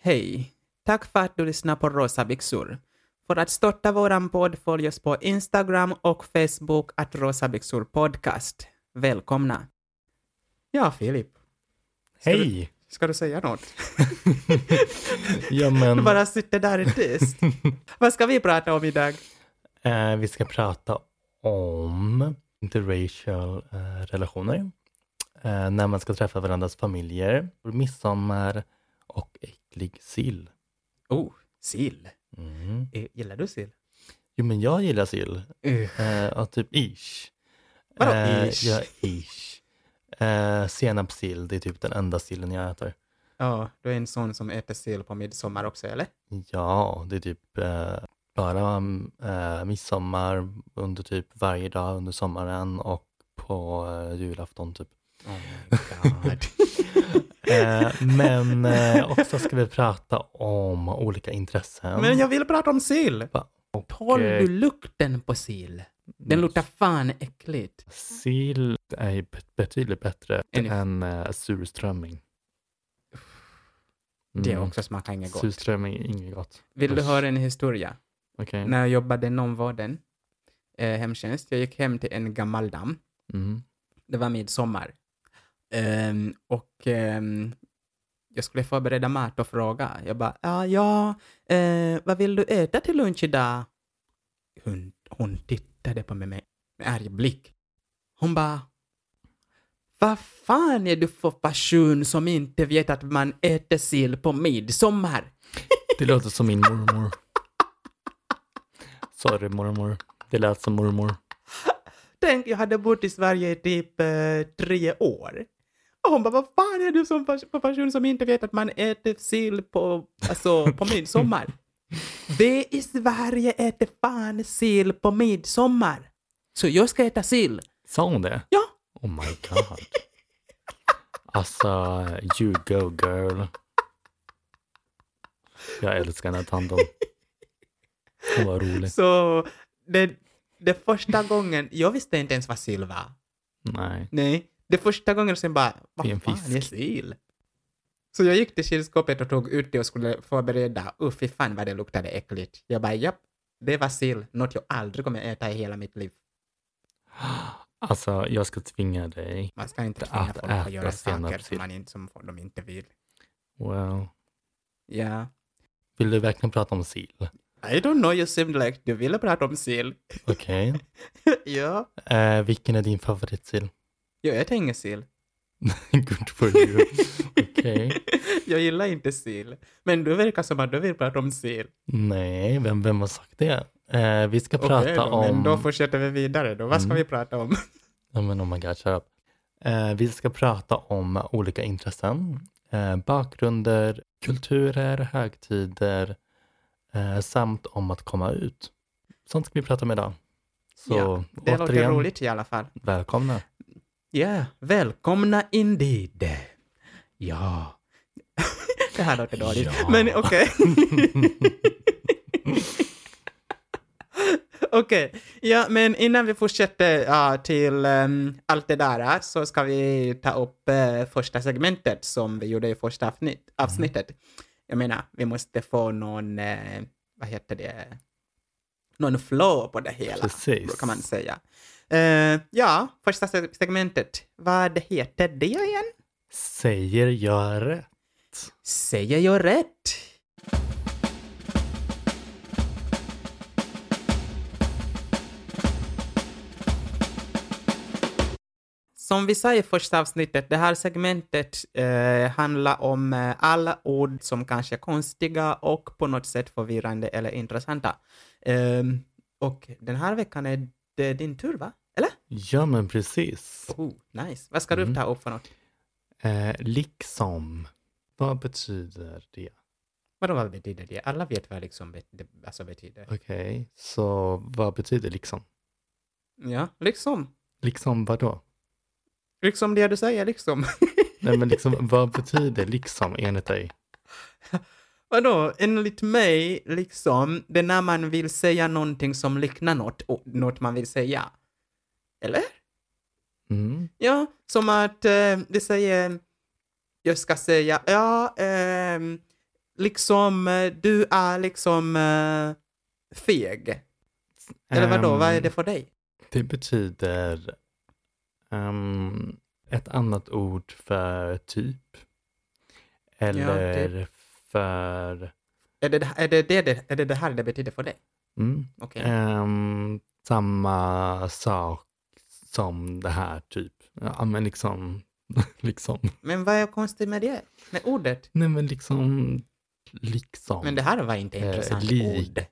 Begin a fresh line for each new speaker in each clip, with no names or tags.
Hej! Tack för att du lyssnar på Rosa byxor. För att stötta våran podd följ oss på Instagram och Facebook att Rosa byxor podcast. Välkomna! Ja, Filip. Ska du-
Hej!
Ska du säga något? Du
Ja, men,
bara sitter där i tyst. Vad ska vi prata om idag?
eh, vi ska prata om interracial eh, relationer. Eh, när man ska träffa varandras familjer, midsommar och äcklig sill.
Oh, sill.
Mm.
Eh, Gillar du sill?
Jo, men jag gillar sill.
Uh.
Eh, ja, typ ish.
Vadå
Eh,
ish?
Ja, ish. Eh, senapssill, det är typ den enda sillen jag äter.
Ja, du är en sån som äter sill på midsommar också, eller?
Ja, det är typ eh, bara eh, midsommar under typ varje dag under sommaren och på eh, julafton typ.
Oh my god.
Eh, men eh, också ska vi prata om olika intressen.
Men jag vill prata om sill!
och,
Håll
eh,
du lukten på sill? Den luktar fan äckligt.
Sill är ju bet- betydligt bättre
Än-
än eh, surströmming.
Det
Mm,
också smakar inget gott.
Surströmming är inget gott.
Vill du
Usch. Mm.
höra en historia?
Okej.
När jag jobbade inom vården, eh, hemtjänst, jag gick hem till en gammal dam.
Mm.
Det var midsommar. Ehm, och ehm, jag skulle förbereda mat och fråga. Jag bara, ja, ja eh, vad vill du äta till lunch idag? Hon, hon tittade på mig med med arg blick. Hon bara, vad fan är du för person som inte vet att man äter sill på midsommar?
Det låter som min mormor. Sorry mormor. Det lät som mormor.
Tänk, jag hade bott i Sverige i typ eh, tre år. Och hon bara, vad fan är du som pers- för person som inte vet att man äter sill på, alltså, på midsommar? Vi i Sverige äter fan sill på midsommar. Så jag ska äta sill.
Sa hon det?
Ja.
Oh my god. Alltså, you go girl. Jag älskar den här tanten. Hon var rolig.
Så det, det första gången, jag visste inte ens vad sill var.
Nej.
Nej, det första gången sen bara,
Det är
vad
en
fan
fisk."
är sill? Så jag gick till kylskåpet och tog ut det och skulle förbereda. Uff, fy fan vad det luktade äckligt. Jag bara, japp, det var sill. Något jag aldrig kommer äta i hela mitt liv.
Alltså, jag ska tvinga dig.
Man ska inte
Att
tvinga folk att
äta
göra saker som,
senapssill.
man inte, som de inte vill.
Well.
Ja.
Vill du verkligen prata om sill?
I don't know, you seemed like du ville prata om sill.
Okej.
ja,
Eh, vilken är din favoritsill?
jag äter ingen sill.
Good for you. Okej.
jag gillar inte sill. Men du verkar som att du vill prata om sill.
Nej, vem, vem har sagt det? Eh, vi ska prata
Okej då,
om... Mm.
men då fortsätter vi vidare då. Vad ska vi prata om?
Ja, men oh my god, shut up. Eh, vi ska prata om olika intressen, eh, bakgrunder, kulturer, högtider eh, samt om att komma ut. Sånt ska vi prata om idag. Så
Ja, Det låter
återigen,
roligt i alla fall.
välkomna.
Ja, välkomna indeed. Ja. det här låter dåligt,
Ja.
men okej. okej, ja, men innan vi fortsätter ja, till ehm, allt det där eh, så ska vi ta upp eh, första segmentet som vi gjorde i första avsnitt, avsnittet. Jag menar, vi måste få någon, eh, vad heter det, någon flow på det hela,
Precis.
kan man säga. Eh, ja, första se- segmentet. Vad heter det igen?
Säger jag rätt?
Säger jag rätt? Som vi sa i första avsnittet, det här segmentet eh, handlar om eh, alla ord som kanske är konstiga och på något sätt förvirrande eller intressanta. Ehm, och den här veckan är det din tur, va? Eller?
Ja, men precis.
Oh, nice. Vad ska du
Mm.
ta upp för något?
Eh, liksom, vad betyder det?
Vadå, vad betyder det? Alla vet vad liksom bet- det- alltså betyder.
Okej, så vad betyder liksom?
Ja, liksom.
Liksom vad då?
Liksom det du säger, liksom.
Nej, men liksom, vad betyder liksom enligt dig?
Vadå, enligt mig, liksom, det är när man vill säga någonting som liknar något, och något man vill säga. Eller?
Mm.
Ja, som att eh, vi säger, jag ska säga, ja, ehm, liksom, eh, du är liksom eh, feg. Eller vadå,
Ehm,
vad är det för dig?
Det betyder ehm, ett annat ord för typ. Eller
typ.
för...
Är det är det, det, det, är det det här det betyder för dig?
Mm,
Okej.
ehm, samma sak som det här typ. Ja men liksom, liksom.
Men vad är konstigt med det? Med ordet?
Nej men liksom, liksom.
Men det här var inte
Eh,
intressant
lik.
ord.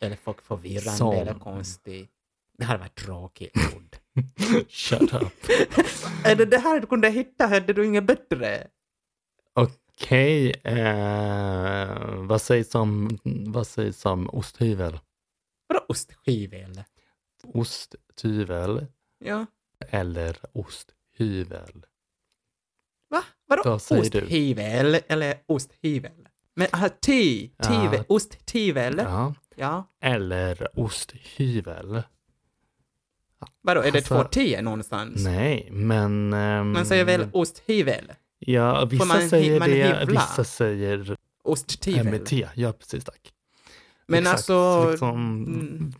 Eller folk förvirrande
Som.
eller konstigt. Det här var ett tråkigt ord.
Shut up.
är det det här du kunde hitta? Hade du inget bättre?
Okej, eh, vad sägs om, vad sägs om osthyvel?
Vadå ostskivel?
Osttyvel
Ja.
eller osthyvel?
Va? Vadå
Vad säger du?
osthyvel eller osthyvel? Men aha, ti, tivel,
Ja.
osttivel. Ja.
Ja. Eller osthyvel?
Vadå, är det
Alltså,
två tior någonstans?
Nej, men... ehm,
Man säger väl osthyvel?
Ja, vissa
man hi-
säger
man
det,
hyvla?
vissa säger
Osttivel?
MT. Ja, precis, tack.
Men
Exakt,
alltså,
Liksom,
mm.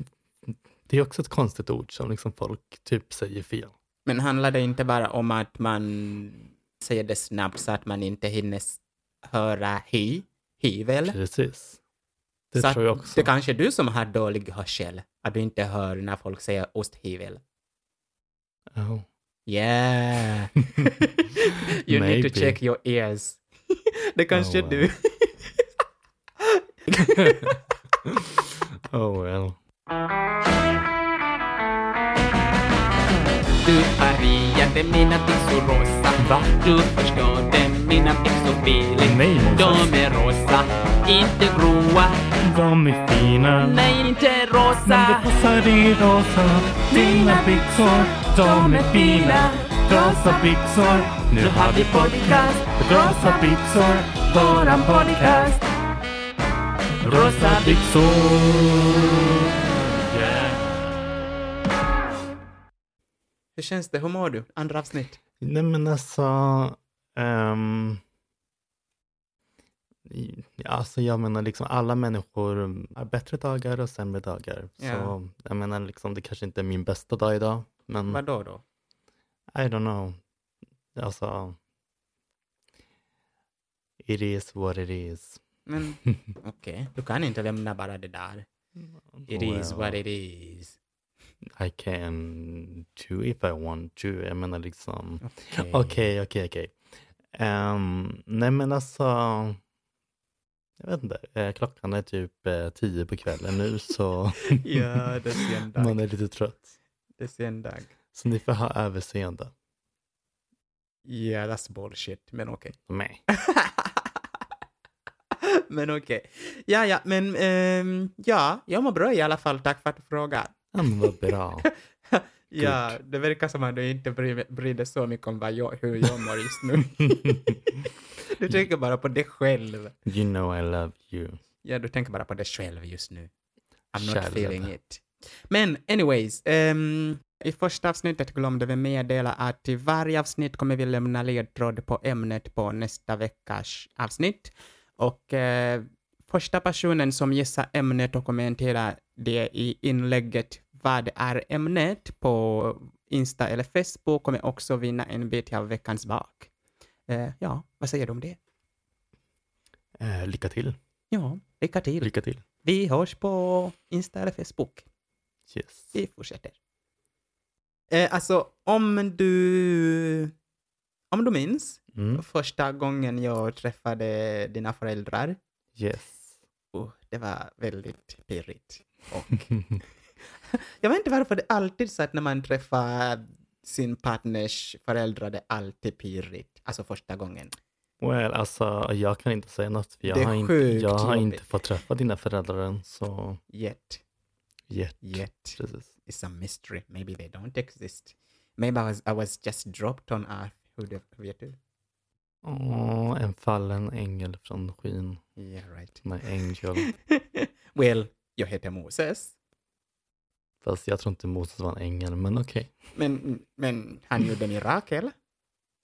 Det är också ett konstigt ord som liksom folk typ säger fel.
men handlar det inte bara om att man säger det snabbt så att man inte hinner s- höra hi, hyvel?
Precis. Det
så
tror jag
att
också.
Det kanske är du som har dålig hörsel, att du inte hör när folk säger osthyvel.
Ja.
Yeah! you need
Maybe.
to check your ears. det kanske är
Oh, wow.
du.
Oh well.
Du färgade mina byxor rosa
Va?
Du förstörde mina byxor fel
Nej, Moses.
De är rosa, inte gråa
De är fina.
Nej, inte rosa
passar i rosa. Dina byxor, de är fina. Rosa byxor.
Nu har vi podcast Rosa
byxor,
våran podcast Rosa
byxor.
Hur känns det? Hur mår du? Andra avsnitt.
Nej men alltså. ehm, i- alltså jag menar liksom alla människor har bättre dagar och sämre dagar.
Ja.
Så jag menar liksom det kanske inte är min bästa dag idag. Men
Vadå då?
I don't know. Alltså. It is what it is.
Men okej, du kan inte lämna bara det där.
Mm,
It is what it is.
I can do if I want to. Jag menar liksom.
Okej.
Okej, okej, okej. Ehm, Nej men alltså. Jag vet inte. eh, Klockan är typ eh, tio på kvällen nu så
Ja, det är en
man
dag.
är lite trött.
Det är en dag.
Så ni får ha överseende.
Yeah, that's bullshit, men okej.
Nej.
men okej. Ja, ja, men ehm, ja, jag mår bra i alla fall, tack för att du frågar.
Ja, Men vad bra.
Ja, det verkar som att du inte bryr, bryr dig så mycket om vad jag, hur jag mår just nu. du tänker bara på dig själv.
You know I love you.
Ja, du tänker bara på dig själv just nu. I'm not
Själv.
feeling it. Men anyways, ehm, i första avsnittet glömde vi meddela att i varje avsnitt kommer vi lämna ledtråd på ämnet på nästa veckas avsnitt. Och eh, första personen som gissar ämnet och kommenterar det i inlägget vad är ämnet på Insta eller Facebook kommer också vinna en bit av veckans bak. Eh, ja, vad säger du om det?
Eh, lycka till.
Ja, lycka till.
Lycka till.
Vi hörs på Insta eller Facebook.
Yes.
Vi fortsätter. Eh, alltså, om du... Om du minns
Mm.
första gången jag träffade dina föräldrar.
Yes.
Oh, det var väldigt pirrigt. Och jag vet inte varför det är alltid så att när man träffar sin partners föräldrar, det är alltid pirrigt. Alltså första gången.
Well, alltså jag kan inte säga något. För jag
Det är
har, inte,
sjukt
jag har
jobbigt.
inte fått träffa dina föräldrar än. Så
Yet,
yeah,
yet.
precis.
It's a mystery. Maybe they don't exist. Maybe I was, I was just dropped on earth. Who the, vet du?
Åh, en fallen ängel från skyn.
Yeah, right.
My angel.
well, jag heter Moses.
Fast jag tror inte Moses var en ängel, men okej.
Men, men han gjorde mirakel.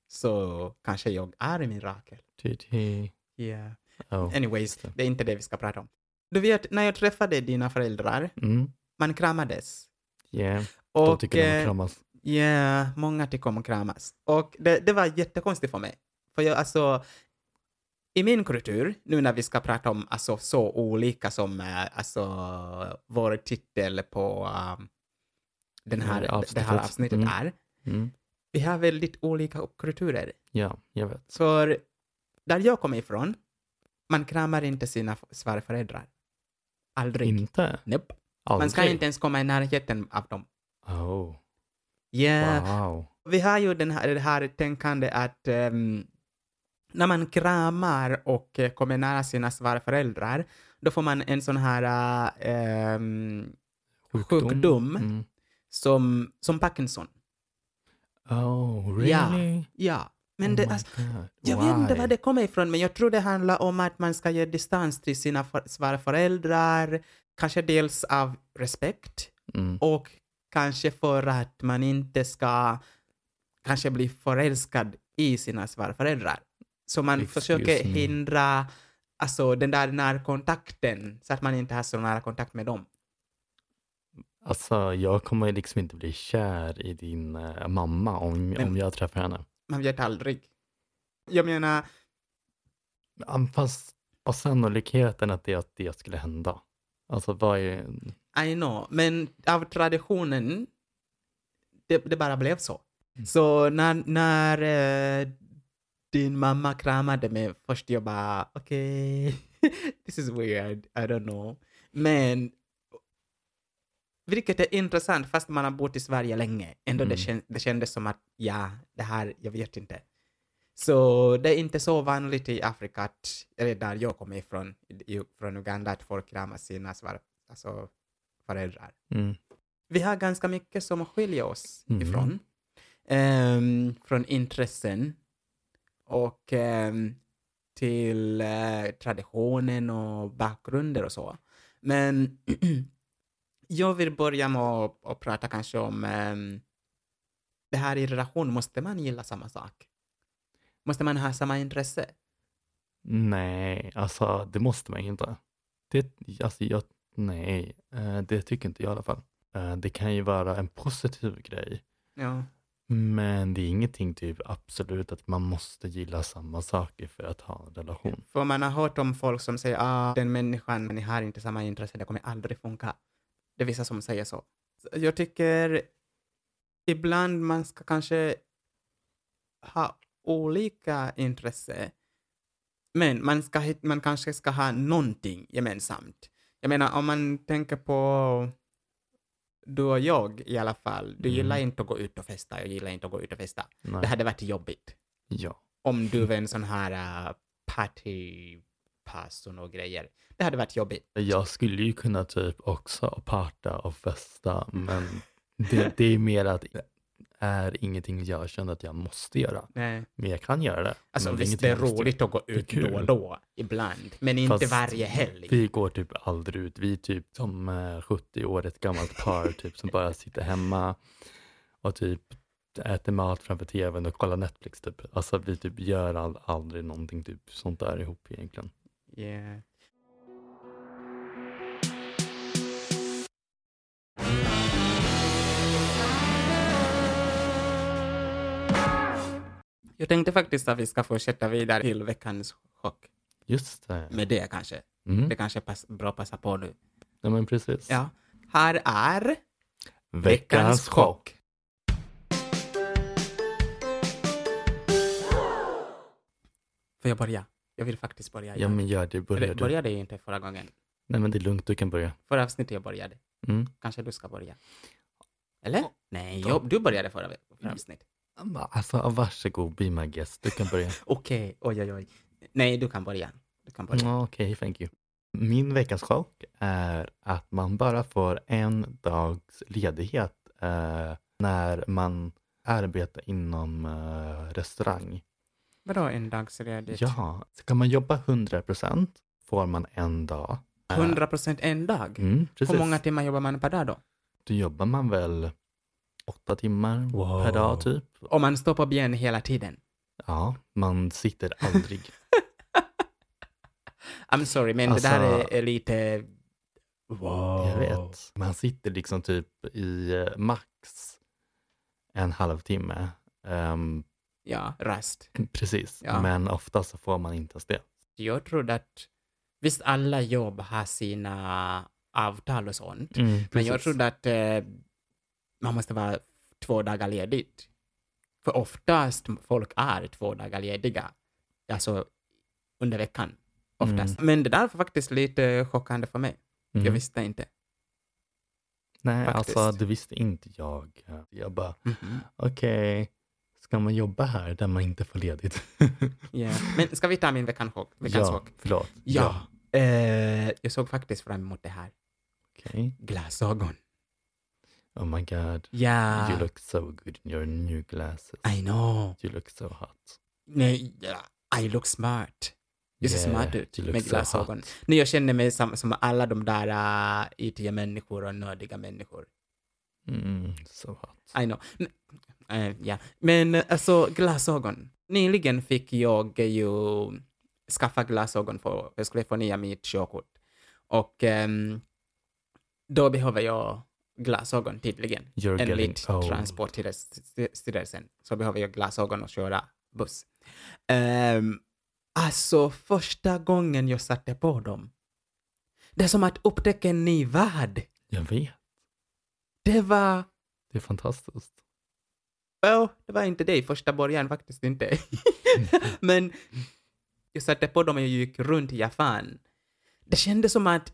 Så kanske jag är mirakel.
Okay.
Yeah.
Oh.
Anyways, det är inte det vi ska prata om. Du vet, när jag träffade dina föräldrar,
Mm.
man kramades.
Yeah.
Eh. Och,
De tycker de
eh,
att kramas.
Ja, många tycker om att kramas. Och det, det var jättekonstigt för mig. För jag, alltså, i min kultur, nu när vi ska prata om alltså, så olika som eh, alltså, vår titel på um, den här,
Det här
det här
avsnittet.
avsnittet
Mm.
är,
Mm.
vi har väldigt olika kulturer.
Ja, jag vet.
För där jag kommer ifrån, man kramar inte sina f- svärföräldrar. Aldrig.
Inte?
Nope.
Aldrig.
Man ska inte ens komma i närheten av dem.
Oh,
Yeah.
wow.
Vi har ju den här, det här tänkande att ehm, när man kramar och eh, kommer nära sina svärföräldrar, då får man en sån här eh, ehm, sjukdom.
Mm.
som, som Parkinson.
Oh,
Ja.
really?
Ja, men
oh
det,
my
alltså,
God.
jag vet inte
Why?
var det kommer ifrån, men jag tror det handlar om att man ska ge distans till sina för- svärföräldrar, kanske dels av respekt
Mm.
och kanske för att man inte ska kanske bli förälskad i sina svärföräldrar. Så man
Excuse
försöker
me.
hindra alltså, den där närkontakten så att man inte har så nära kontakt med dem.
Alltså, jag kommer liksom inte bli kär i din eh, mamma om,
Men-
om jag träffar henne.
Man vet aldrig. Jag menar,
Ja, Fast vad sannolikheten att det, att det skulle hända? Alltså, vad är...
I know, men av traditionen, det, det bara blev så. Så när, när eh, din mamma kramade mig först, jag bara okej, this is weird, I don't know. Men vilket är intressant, fast man har bott i Sverige länge, ändå det,
Mm.
kän, det kändes som att ja, det här, jag vet inte. Så det är inte så vanligt i Afrika, att, eller där jag kommer ifrån, i, från Uganda, att folk kramar sina svar, alltså, föräldrar
Mm.
vi har ganska mycket som skiljer oss
Mm.
ifrån. Ehm, från intressen och ehm, till eh, traditionen och bakgrunder och så. Men jag vill börja med att, att prata kanske om ehm, det här i relation, måste man gilla samma sak? Måste man ha samma intresse?
Nej, alltså det måste man ju inte. Det, alltså, jag, nej, eh, det tycker inte jag i alla fall. Eh, Det kan ju vara en positiv grej
Ja.
Men det är ingenting typ absolut att man måste gilla samma saker för att ha en relation.
För man har hört om folk som säger ah, den människan, ni har inte samma intresse, det kommer aldrig funka. Det är vissa som säger så. Så Jag tycker ibland man ska kanske ha olika intresse. Men man, ska, hit- man kanske ska ha någonting gemensamt. Jag menar om man tänker på du och jag i alla fall. Du
Mm.
gillar inte att gå ut och festa, jag gillar inte att gå ut och festa.
Nej.
Det hade varit jobbigt
Ja.
om du var en sån här uh, partyperson och grejer. Det hade varit jobbigt.
Jag skulle ju kunna typ också parta och festa, men det, det är mer att det är ingenting jag känner att jag måste göra.
Nej.
Men jag kan göra det.
Alltså
men
visst,
ingenting
det är
jag måste
roligt att gå ut
kul.
då och då, ibland, men
göra.
inte
Fast
varje helg.
Vi går typ aldrig ut. Vi är typ som eh, 70 år, ett gammalt par typ, som bara sitter hemma och typ äter mat framför tvn och kollar Netflix. Typ. Alltså vi typ gör all, aldrig någonting typ sånt där ihop egentligen.
Yeah. Jag tänkte faktiskt att vi ska fortsätta vidare till veckans chock
Just det.
med det kanske.
Mm.
Det kanske är pass, bra att passa på nu.
Ja, men precis.
Ja. Här är
Veckans chock.
Får jag börja? Jag vill faktiskt börja.
Ja,
igen.
men gör det. Börja
Eller,
du.
började jag inte förra gången?
Nej, men det är lugnt. Du kan börja.
Förra avsnittet jag började.
Mm.
Kanske du ska börja? Eller?
Ja. Mm.
Nej, jag, du började förra, ve- förra avsnittet.
Alltså, varsågod. Be my guest. Du kan börja.
Okej, oj, oj, oj. Nej, du kan börja. Du kan börja.
Ja, Okej, thank you. Min veckans chock är att man bara får en dags ledighet eh, när man arbetar inom eh, restaurang.
Vadå en dags ledigt?
Ja, ska man jobba 100 procent får man en dag. Eh,
100 procent en dag?
Mm, precis.
Hur många timmar jobbar man per dag då?
Då jobbar man väl åtta timmar per dag typ.
Om man står på ben hela tiden?
Ja, man sitter aldrig.
I'm sorry, men
Alltså-
det där är, är lite... Wow.
Jag vet. Man sitter liksom typ i eh, max en halvtimme. Ehm,
Ja, rast.
precis,
Ja.
men ofta så får man inte ens det.
Jag trodde att... Visst, alla jobb har sina avtal och sånt. Men jag
Mm, precis.
trodde att eh, man måste vara två dagar ledigt. För oftast folk är två dagar lediga. Alltså under
Mm.
veckan. Oftast. Men det där var faktiskt lite chockande för mig. Jag
Mm.
visste inte.
Nej,
faktiskt.
alltså det visste inte jag. eh, Jag bara,
Mm-hmm.
okej, ska man jobba här där man inte får ledigt?
Ja. Men ska vi ta min veckans chock? Veckans
ja,
chock?
förlåt.
Ja. Eh, jag såg faktiskt fram emot det här.
Okej.
Glasögon.
Oh my god.
Ja.
You look so good in your new glasses.
I know.
You look so hot.
Nej, ja, I look smart. Jag ser
Yeah,
smart ut
you look
med
so
glasögon.
hot.
Nu jag känner mig som, som alla de där uh, IT-människor och nördiga människor.
Mm, so hot.
I know. N- eh, ja. Men eh, alltså glasögon. Nyligen fick jag eh, ju skaffa glasögon för jag skulle förnya mitt körkort. Och ehm, då behöver jag glasögon tydligen.
You're getting
Enligt
old.
Transportstyrelsen så behöver jag glasögon och köra buss. Um, alltså första gången jag satte på dem. Det är som att upptäcka en ny värld.
Jag vet.
Det var
Det är fantastiskt.
Well, det var inte det i första början faktiskt inte. Men jag satte på dem och jag gick runt i Japan. Det kändes som att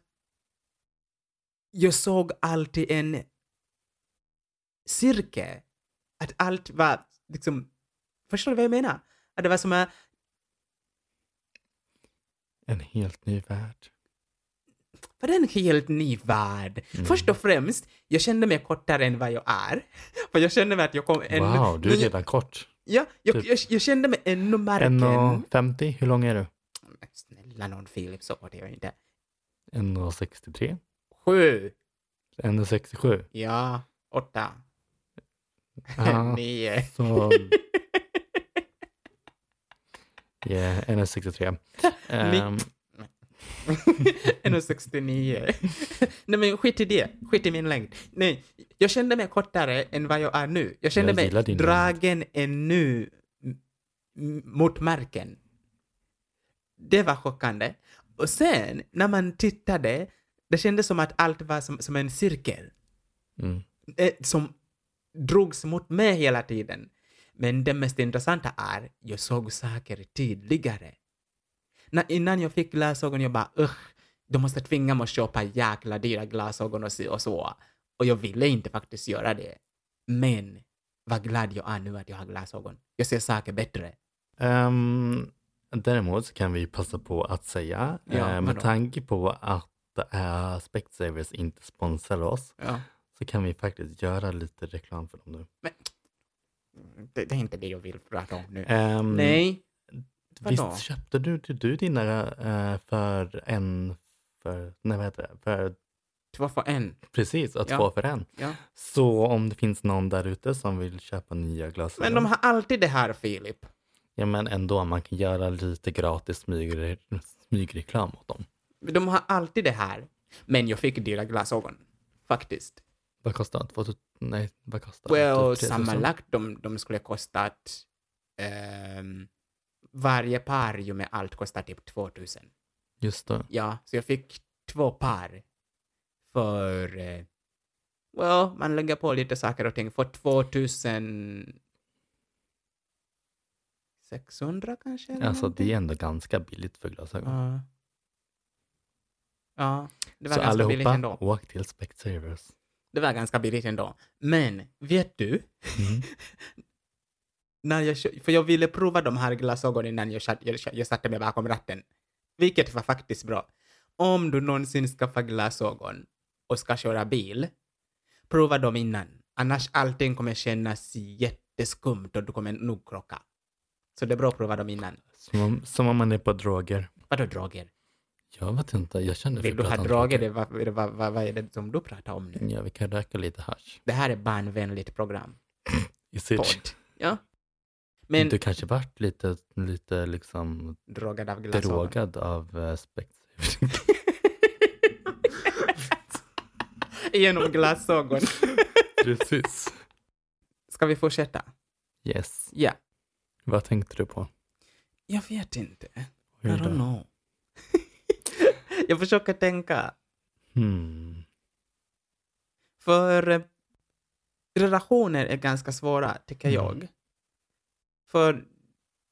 jag såg alltid en cirkel. Att allt var liksom... Förstår du vad jag menar? Att det var som att
En helt ny värld.
För det är en helt ny värld.
Mm.
Först och främst, jag kände mig kortare än vad jag är. För jag kände mig att jag kom ännu...
wow, du är
Men jag-
redan kort.
Ja, jag,
typ.
jag, jag kände mig ännu märken.
1,50. Hur lång är du?
Men Snälla någon Filip, så hårt är jag inte.
1,63.
Sju.
1,67.
Ja. Åtta.
Ja,
Nio.
så... Yeah, 1,63. Ehm,
1,69. Nej men skit i det. Skit i min längd. Nej, jag kände mig kortare än vad jag är nu. Jag kände
Jag gillar
mig
din
dragen ännu m- m- mot marken. Det var chockande. Och sen, när man tittade, det kändes som att allt var som, som en cirkel.
mm.
eh, som drogs mot mig hela tiden. Men det mest intressanta är, jag såg saker tydligare. När, innan jag fick glasögon, jag bara usch, de måste tvinga mig att köpa jäkla dyra glasögon och så och så. Och jag ville inte faktiskt göra det. Men vad glad jag är nu att jag har glasögon. Jag ser saker bättre.
Ehm, däremot så kan vi passa på att säga,
Ja,
eh, med
vadå?
tanke på att uh, Specsavers inte sponsrar oss,
Ja.
så kan vi faktiskt göra lite reklam för dem nu.
Det, det är inte det jag vill prata om nu.
Ehm,
Nej.
Visst
Vadå?
köpte du, du, du dina eh, för en, för, nej vad heter det, för
Två för en.
precis, att
Ja.
två för en.
Ja.
Så om det finns någon där ute som vill köpa nya glasögon,
Men de har alltid det här, Filip.
ja men ändå, man kan göra lite gratis smygre, smygreklam åt dem.
De har alltid det här. Men jag fick dyra glasögon. Faktiskt.
Vad kostar det? 2000 Nej, vad kostar det?
Well,
Typ 3000?
sammanlagt de, de skulle kostat... ehm, varje par ju med allt kostar typ 2000.
Just det.
Ja, så jag fick två par. För... eh, well, man lägger på lite saker och ting. För 2000... 600 kanske? eller
Alltså
någonting?
det är ändå ganska billigt för glasögon.
Ja. Ja, det var
Så
ganska billigt
allihopa,
ändå.
åk till Specsavers.
Det var ganska billigt ändå. Men, vet du?
Mm.
När jag, kö- för jag ville prova de här glasögonen innan jag, satt- jag, jag satte mig bakom ratten. Vilket var faktiskt bra. Om du någonsin skaffar glasögon och ska köra bil, prova dem innan. Annars allting kommer kännas jätteskumt och du kommer nog krocka. Så det är bra att prova dem innan.
Som, om, som om man är på droger.
Vadå droger?
Jag vet inte, jag känner
Vill du ha
att han
droger?
tycker-
Det, vad, vad, vad, vad är det som du pratar om nu?
Ja, vi kan röka lite hasch.
Det här är barnvänligt program.
I sitt.
Podd. Ja. Men
Du kanske vart lite, lite liksom
drogad av glasögon.
drogad av eh, spekt.
Genom glasögon.
Precis.
Ska vi fortsätta?
Yes.
Ja.
Vad tänkte du på?
Jag vet inte. I
Oj då.
don't know. jag försöker tänka.
Hmm.
För eh, relationer är ganska svåra, tycker
Mm.
jag. För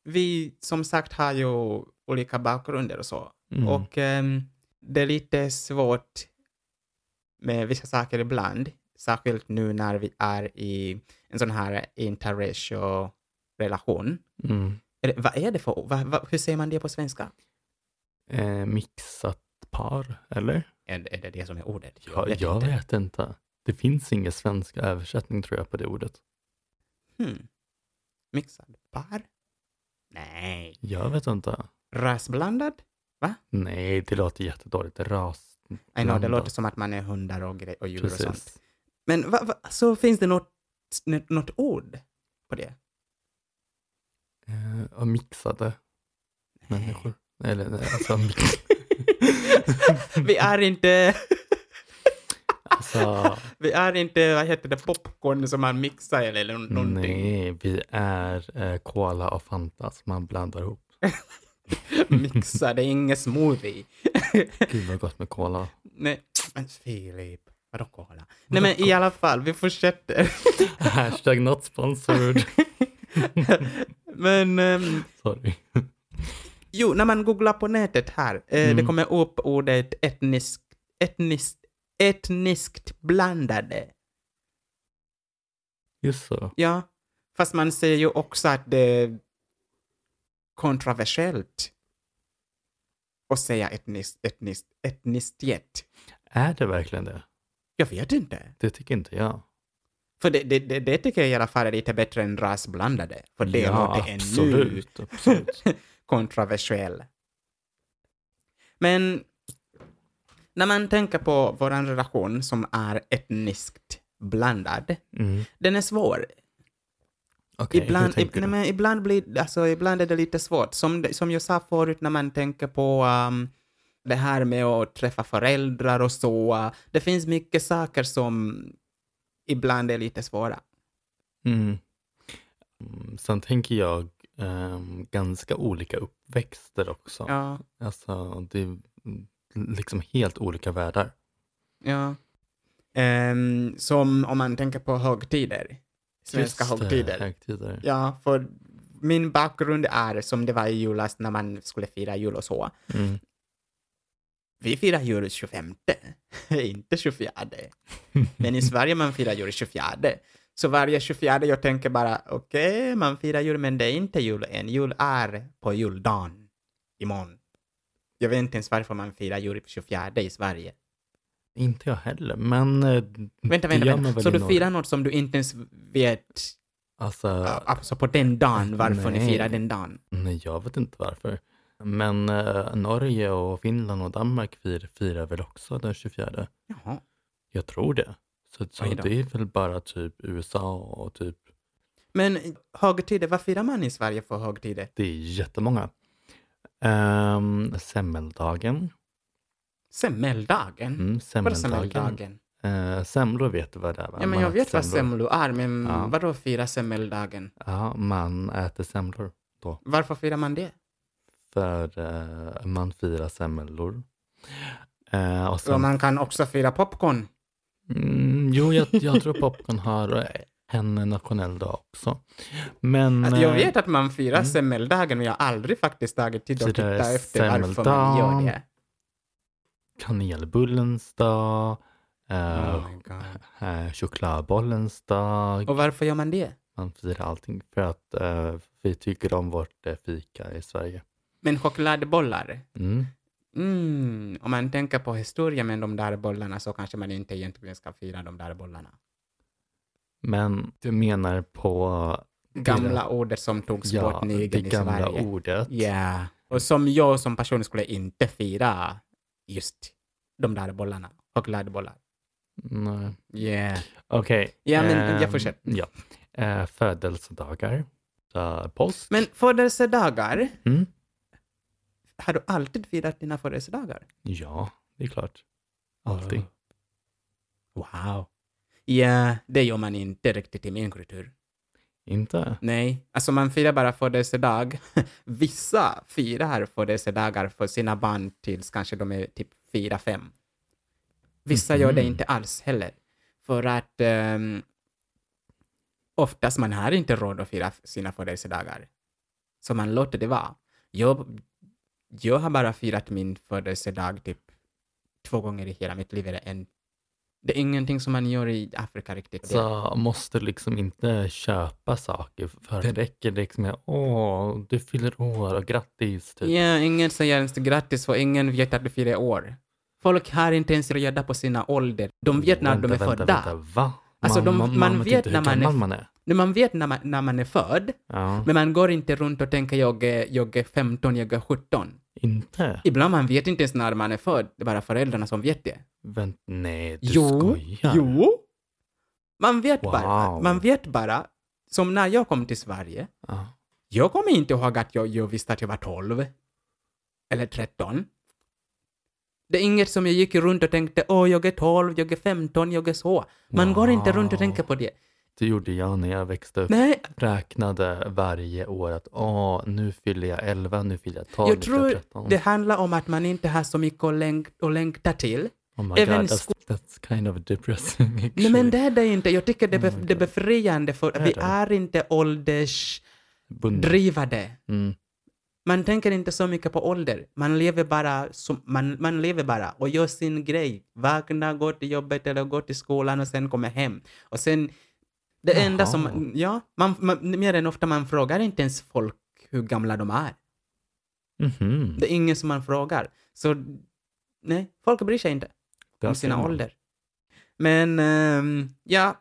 vi som sagt har ju olika bakgrunder och så.
Mm.
Och ehm, det är lite svårt med vissa saker ibland. Särskilt nu när vi är i en sån här interracial relation.
Mm.
Eller, vad är det för vad, vad, Hur säger man det på svenska?
Eh, mixat par, eller?
Är, är det det som är ordet?
Jag, jag, vet, inte. Det finns ingen svensk översättning tror jag på det ordet.
Hmm. Mixad par? Nej.
Jag vet inte.
Rasblandad?
Nej, det låter jättedåligt. Ras.
I know, det
Blandad.
låter som att man är hundar och, gre- och djur och sånt.
Precis.
Men va, va, så finns det något, något ord på det?
Eh, och mixade människor. Eller nej, alltså, mix,
vi är inte,
alltså
vi är inte, vad heter det, popcorn som man mixar eller nå- någonting.
nej, vi är eh, cola och Fanta som man blandar ihop.
Mixar, det är ingen smoothie.
Gud vad gott med cola.
nej, men Filip, vadå kolla? Nej men i alla fall, vi fortsätter.
Hashtag not sponsored.
men ehm,
Sorry.
jo, när man googlar på nätet här, eh, det
Mm.
kommer upp ordet etnisk, etniskt, etniskt blandade.
Just så.
Ja, fast man ser ju också att det är kontroversiellt att säga etniskt, etniskt, etnicitet.
Är det verkligen det?
Jag vet inte.
Det tycker inte jag.
För det, det, det, det tycker jag i alla fall är lite bättre än rasblandade. För det låter ännu
absolut. absolut.
kontroversiell. Men när man tänker på vår relation som är etniskt blandad,
Mm.
den är svår.
Okej, hur
Ibland, ib,
tänker
nej,
du?
men ibland, blir, alltså, ibland är det lite svårt. Som, det- som jag sa förut när man tänker på um, det här med att träffa föräldrar och så. uh, det finns mycket saker som ibland är lite svåra.
Mm. Mm, Sen tänker jag ehm, ganska olika uppväxter också.
Ja,
Alltså, det är liksom helt olika världar.
ja. Ehm, som om man tänker på högtider. Svenska
Just det,
högtider.
högtider.
Ja, för min bakgrund är som det var i julas när man skulle fira jul och så.
Mm.
Vi firar jul 25, inte 24. Men i Sverige man firar jul 24. Så varje 24 jag tänker bara okej, man firar jul men det är inte jul än. Jul är på juldagen imorgon. Jag vet inte ens varför man firar jul 24 i Sverige.
Inte jag heller, men eh,
Vänta,
det gör
vänta,
man
vänta.
väl
Så
i
du
norr.
firar något som du inte ens vet,
Alltså,
alltså på den dagen, varför ni
Nej.
firar den dagen?
nej, jag vet inte varför. Men eh, Norge och Finland och Danmark fir, firar väl också den 24?
Jaha.
Jag tror det. Så, så
Oj då.
det är väl bara typ USA och typ,
Men eh, högtider, vad firar man i Sverige för högtider?
det är jättemånga. Um, semmeldagen.
Semmeldagen?
Mm,
Vadå
semmeldagen.
semmeldagen?
Eh, semlor vet du vad det är? va?
Ja, men
Man
jag
äter
vet vad
semlor.
semlor är, men
Ja.
vadå fira semmeldagen?
Ja, man äter semlor.
Varför firar man det?
För eh, man firar semlor. Eh, och sen,
Och man kan också fira popcorn.
mm, jo, jag, jag tror popcorn har eh, en nationell dag också. Men
Alltså, jag
eh,
vet att man firar
Mm.
semmeldagen, men jag har aldrig faktiskt tagit tid att
Firar
titta efter varför man
semmeldagen.
gör det.
kanelbullens dag, eh,
Oh my God.
eh, chokladbollens dag.
Och varför gör man det?
Man firar allting för att eh, vi tycker om vårt eh, fika i Sverige.
Men chokladbollar?
Mm.
Mm. Om man tänker på historia med de där bollarna så kanske man inte egentligen ska fira de där bollarna.
Men du menar på
Gamla
Fira-
ordet som togs
ja,
bort
det
nyligen i
gamla
Sverige.
ordet.
Ja. Och som jag som person skulle inte fira just de där bollarna. Chokladbollar.
Nej.
Yeah.
Okej.
Ja, men jag
ehm,
fortsätter.
Ja. Eh, födelsedagar. första påsk.
Men födelsedagar,
Mm.
har du alltid firat dina födelsedagar?
Ja, det är klart. Alltid.
Wow. Ja, det gör man inte riktigt i min kultur.
Inte?
Nej, alltså man firar bara födelsedag. Vissa firar födelsedagar för sina barn tills kanske de är typ fyra fem. Vissa gör det
Mhm.
inte alls heller. För att um, oftast man har inte råd att fira sina födelsedagar. Så man låter det vara. Jag, jag har bara firat min födelsedag typ två gånger i hela mitt liv. Eller en. Det är ingenting som man gör i Afrika riktigt.
Så måste du liksom inte köpa saker. För det räcker liksom med åh, du fyller år och grattis. Typ.
Ja, ingen säger ens grattis för ingen vet att du fyller år. Folk har inte ens reda på sina ålder. De vet när
Mm, Vänta,
de är
vänta,
födda.
Vänta, va?
Alltså, de- man
vet
vet
inte
när
hur
man är-
gammal man är.
Men Man vet när man, när man är född,
Ja,
men man går inte runt och tänker jag är, jag är 15, jag är 17.
inte?
Ibland man vet inte ens när man är född, det är bara föräldrarna som vet det.
Vänta, nej, du
Jo,
skojar.
Jo! Man vet bara.
Wow.
Man vet bara. Som när jag kom till Sverige,
Ja.
Jag kommer inte ihåg att jag, jag visste att jag var 12. Eller 13. Det är inget som jag gick runt och tänkte, åh, jag är 12, jag är 15, jag är så. Man går inte runt och
Wow.
tänker på det.
Det gjorde jag när jag växte upp.
Nej,
Räknade varje år att åh, nu fyller jag 11, nu fyller jag 12,
jag
nu fyller
tror
jag 13.
det handlar om att man inte har så mycket att, längt, att längta till.
Oh my
även
god, that's, that's kind of depressing actually.
Nej, men det är det inte. Jag tycker det, är
Oh
bef-
my
det är
God.
befriande för
Är
vi
det?
är inte åldersdrivade.
Bunden. Mm.
Man tänker inte så mycket på ålder. Man lever bara, som, man, man lever bara och gör sin grej. Vakna, gå till jobbet eller gå till skolan och sen kommer hem. Och sen, det
Jaha.
enda som, ja, man, man, mer än ofta man frågar inte ens folk hur gamla de är.
Mhm.
Det är ingen som man frågar. Så nej, folk bryr sig inte
Där
om
ser
sina
man.
ålder. Men ehm, ja,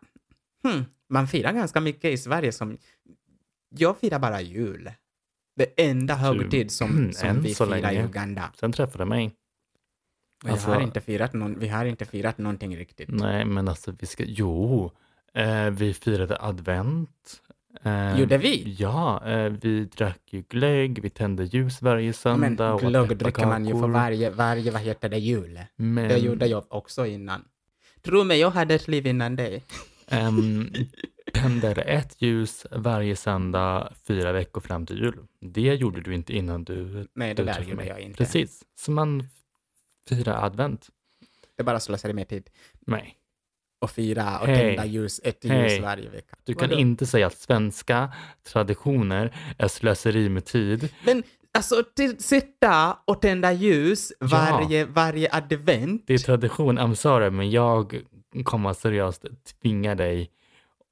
hmm, man firar ganska mycket i Sverige som... Jag firar bara jul. Det enda högtid som,
Mm,
som
än
vi
så
firar i
länge.
Uganda.
Sen träffade jag mig.
Och
Alltså-
jag har inte firat någon, vi har inte firat någonting riktigt.
Nej, men alltså vi ska... Jo, eh, vi firade advent. Eh,
Gjorde vi?
Ja, eh, vi drack ju glögg, vi tände ljus varje
Men
söndag. åt
glögg dricker man ju för
pepparkakor.
varje, varje vad heter det, jul.
Men,
Det gjorde jag också innan. Tro mig, jag hade ett liv innan dig.
ehm, tänder ett ljus varje söndag fyra veckor fram till jul. Det gjorde du inte innan du...
Nej, det
du
där
träffade
gjorde
mig.
jag inte.
Precis, så man firar advent.
Det bara slösade med tid.
Nej.
Och fira och
Hej.
tända ljus, ett ljus
Hej.
varje vecka.
Du kan
Vadå?
inte säga att svenska traditioner är slöseri med tid.
Men alltså, till, sitta och tända ljus varje, varje advent.
Det är tradition, I'm sorry, men jag kommer seriöst tvinga dig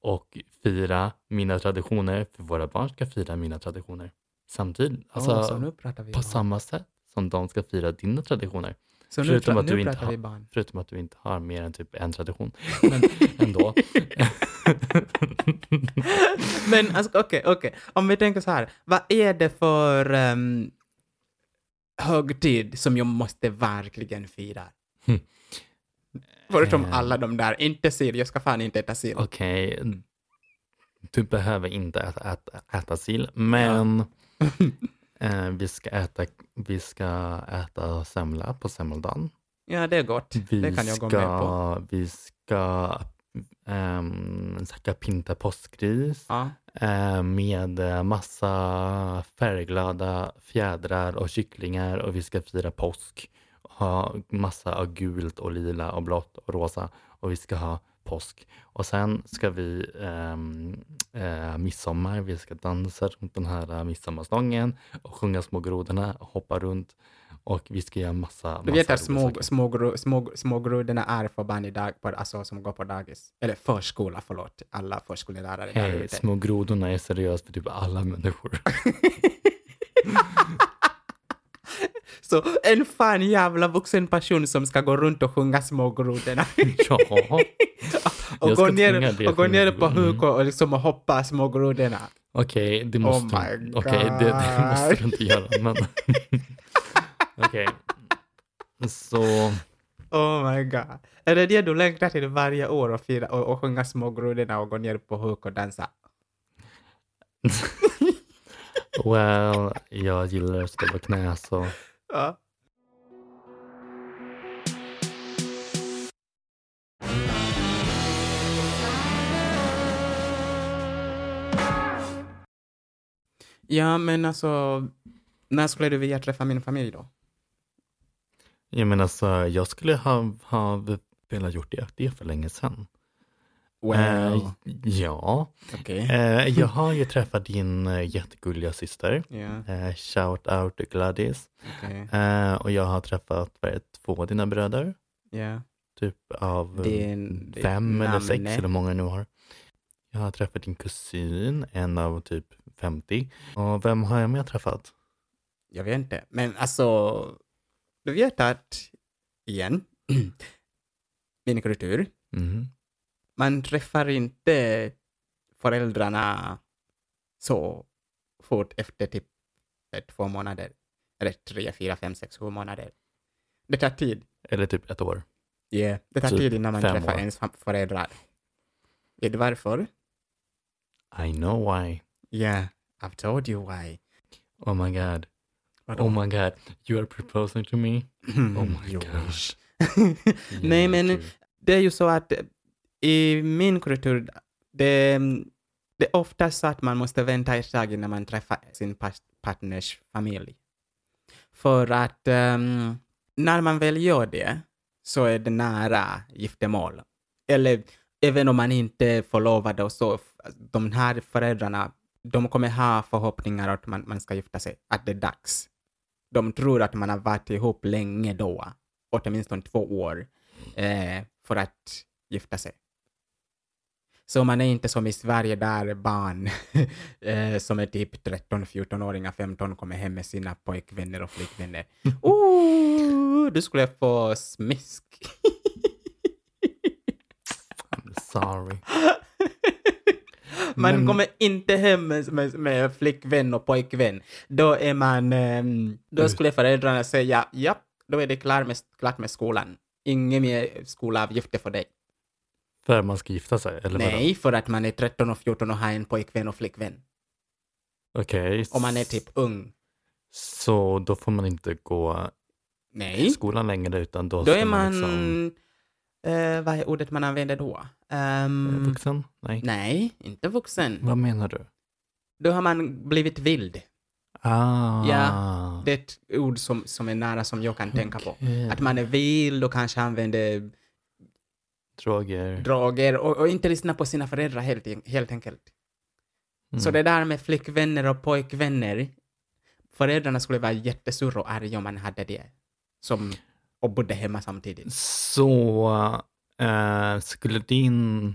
och fira mina traditioner, för våra barn ska fira mina traditioner samtidigt. Alltså,
Åh, så nu pratar vi
på
barn.
samma sätt som de ska fira dina traditioner.
så nu,
förutom
pra-
att
nu
du inte
pratar
har-
vi barn.
Förutom att du inte har mer än typ en tradition. Men ändå.
Men alltså, okej, okej. Om vi tänker så här, vad är det för um, högtid som jag måste verkligen fira?
Hm.
Förutom
Eh.
alla de där, inte sill, jag ska fan inte äta sill.
Okej, du behöver inte äta, äta, äta sill, men eh, vi, ska äta, vi ska äta semla på semmeldagen.
Ja, det är gott.
Vi
Det kan jag
ska,
gå med på.
Vi ska um, säkert pinta påskgris
Ja.
eh, med massa färgglada fjädrar och kycklingar och vi ska fira påsk. Ha massa av gult och lila och blått och rosa och vi ska ha påsk. Och sen ska vi ehm, eh, midsommar, vi ska dansa runt den här eh, midsommarstången och sjunga Små grodorna och hoppa runt. Och vi ska göra massa, massa
Du vet att
roliga
små,
saker.
smågro, små, smågrodorna är för barn idag, på, alltså som går på dagis. Eller förskola, förlåt. Alla förskolelärare där
Hej,
ute.
små grodorna är seriöst för typ alla människor.
Så en fan jävla vuxen person som ska gå runt och sjunga smågrodorna.
ja.
och
Jag
gå
ska tvinga
ner,
det
och gå
till
ner
mig.
på
Mm.
huk och liksom hoppa smågrodorna.
Okej, det måste
Oh my
Okej, det, det måste du inte göra. Men... Okej. Så,
Oh my god. Är det det du längtar till varje år och, fira, och, och sjunga smågrodorna och gå ner på huk och dansa?
Well, jag gillar att stå på knä så.
Ja. Ja, men alltså, när skulle du vilja träffa min familj då?
Jag menar så, jag skulle ha, ha velat gjort det, det för länge sedan. Eh, ja,
okej.
eh, jag har ju träffat din eh, jättegulliga syster.
Ja,
Eh, shout out till Gladys.
okej.
Eh, och jag har träffat vad är det, två av dina bröder.
Ja.
Typ av
Det är
eh,
en- det är
fem eller sex
namnet.
eller många jag nu har. Jag har träffat din kusin, en av typ 50. Och vem har jag mer träffat?
Jag vet inte, men alltså, du vet att, igen, min kultur,
Mhm.
man träffar inte föräldrarna så fort efter typ eh, två månader. Eller tre, fyra, fem, sex, sju månader. Det tar tid.
Eller typ ett år.
Yeah. Det tar
Typ
tid innan man
fem
träffar
år.
ens fam- föräldrar. Vet du varför?
I know why.
Yeah, I've told you why.
Oh my god. Oh my god. You are proposing to me. Oh my
You
god.
wish. Nej, men-
Jävlar.
det är ju så att eh, i min kultur, det, det är ofta så att man måste vänta ett tag innan man träffar sin pas- partners familj. För att ehm, när man väl gör det så är det nära giftermål. Eller även om man inte är förlovad och så, f- de här föräldrarna, de kommer ha förhoppningar att man, man ska gifta sig, att det är dags. De tror att man har varit ihop länge då, åtminstone två år eh, för att gifta sig. Så man är inte som i Sverige där barn eh, som är typ 13, 14-åringar, 15 kommer hem med sina pojkvänner och flickvänner. Ooh, du skulle få smisk.
I'm sorry.
Man
Men-
kommer inte hem med, med, med flickvän och pojkvän. Då är man... ehm, Då
Ut.
skulle föräldrarna säga ja, då är det klart med, klart med skolan. Inga mer skolavgifter för dig.
För man ska gifta sig? Eller vadå?
Nej, för att man är 13 och 14 och har en pojkvän och flickvän.
Okej.
Om man är typ ung.
Så då får man inte gå i
Nej,
skolan längre utan då,
då
ska
är man...
liksom...
eh, vad är ordet man använder då? Ehm,
Eh, Vuxen? Nej.
nej, inte vuxen.
Vad menar du?
Då har man blivit vild.
Ah.
Det är ett ord som, som är nära som jag kan tänka på.
Okej.
Att man är vild och kanske använder
Droger.
droger och, och inte lyssnar på sina föräldrar helt, en- helt enkelt.
Mm.
Så det där med flickvänner och pojkvänner, föräldrarna skulle vara jättesura och arga om man hade det. Som, och bodde hemma samtidigt.
Så eh, skulle din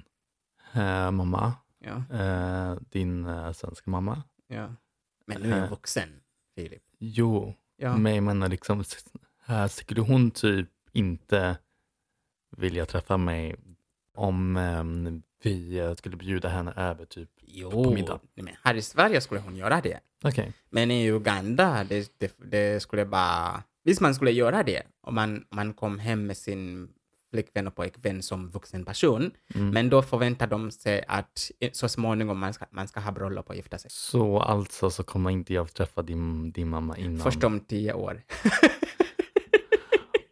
eh, mamma,
Ja,
eh, din eh, svenska mamma,
ja. Men nu är jag
Eh.
vuxen, Filip. Mm.
jo,
Ja.
men jag menar liksom, s- eh, skulle hon typ inte vilja träffa mig om eh, vi eh, skulle bjuda henne över typ?
jo,
på middag.
nej, men här i Sverige skulle hon göra det.
Okej,
Men i Uganda, det, det, det skulle bara... Visst, man skulle göra det om man, om man kom hem med sin flickvän och pojkvän som vuxen person.
Mm.
Men då förväntar de sig att eh, så småningom man ska, man ska ha bröllop och gifta sig.
så alltså så kommer inte jag träffa din, din mamma innan?
Först om tio år.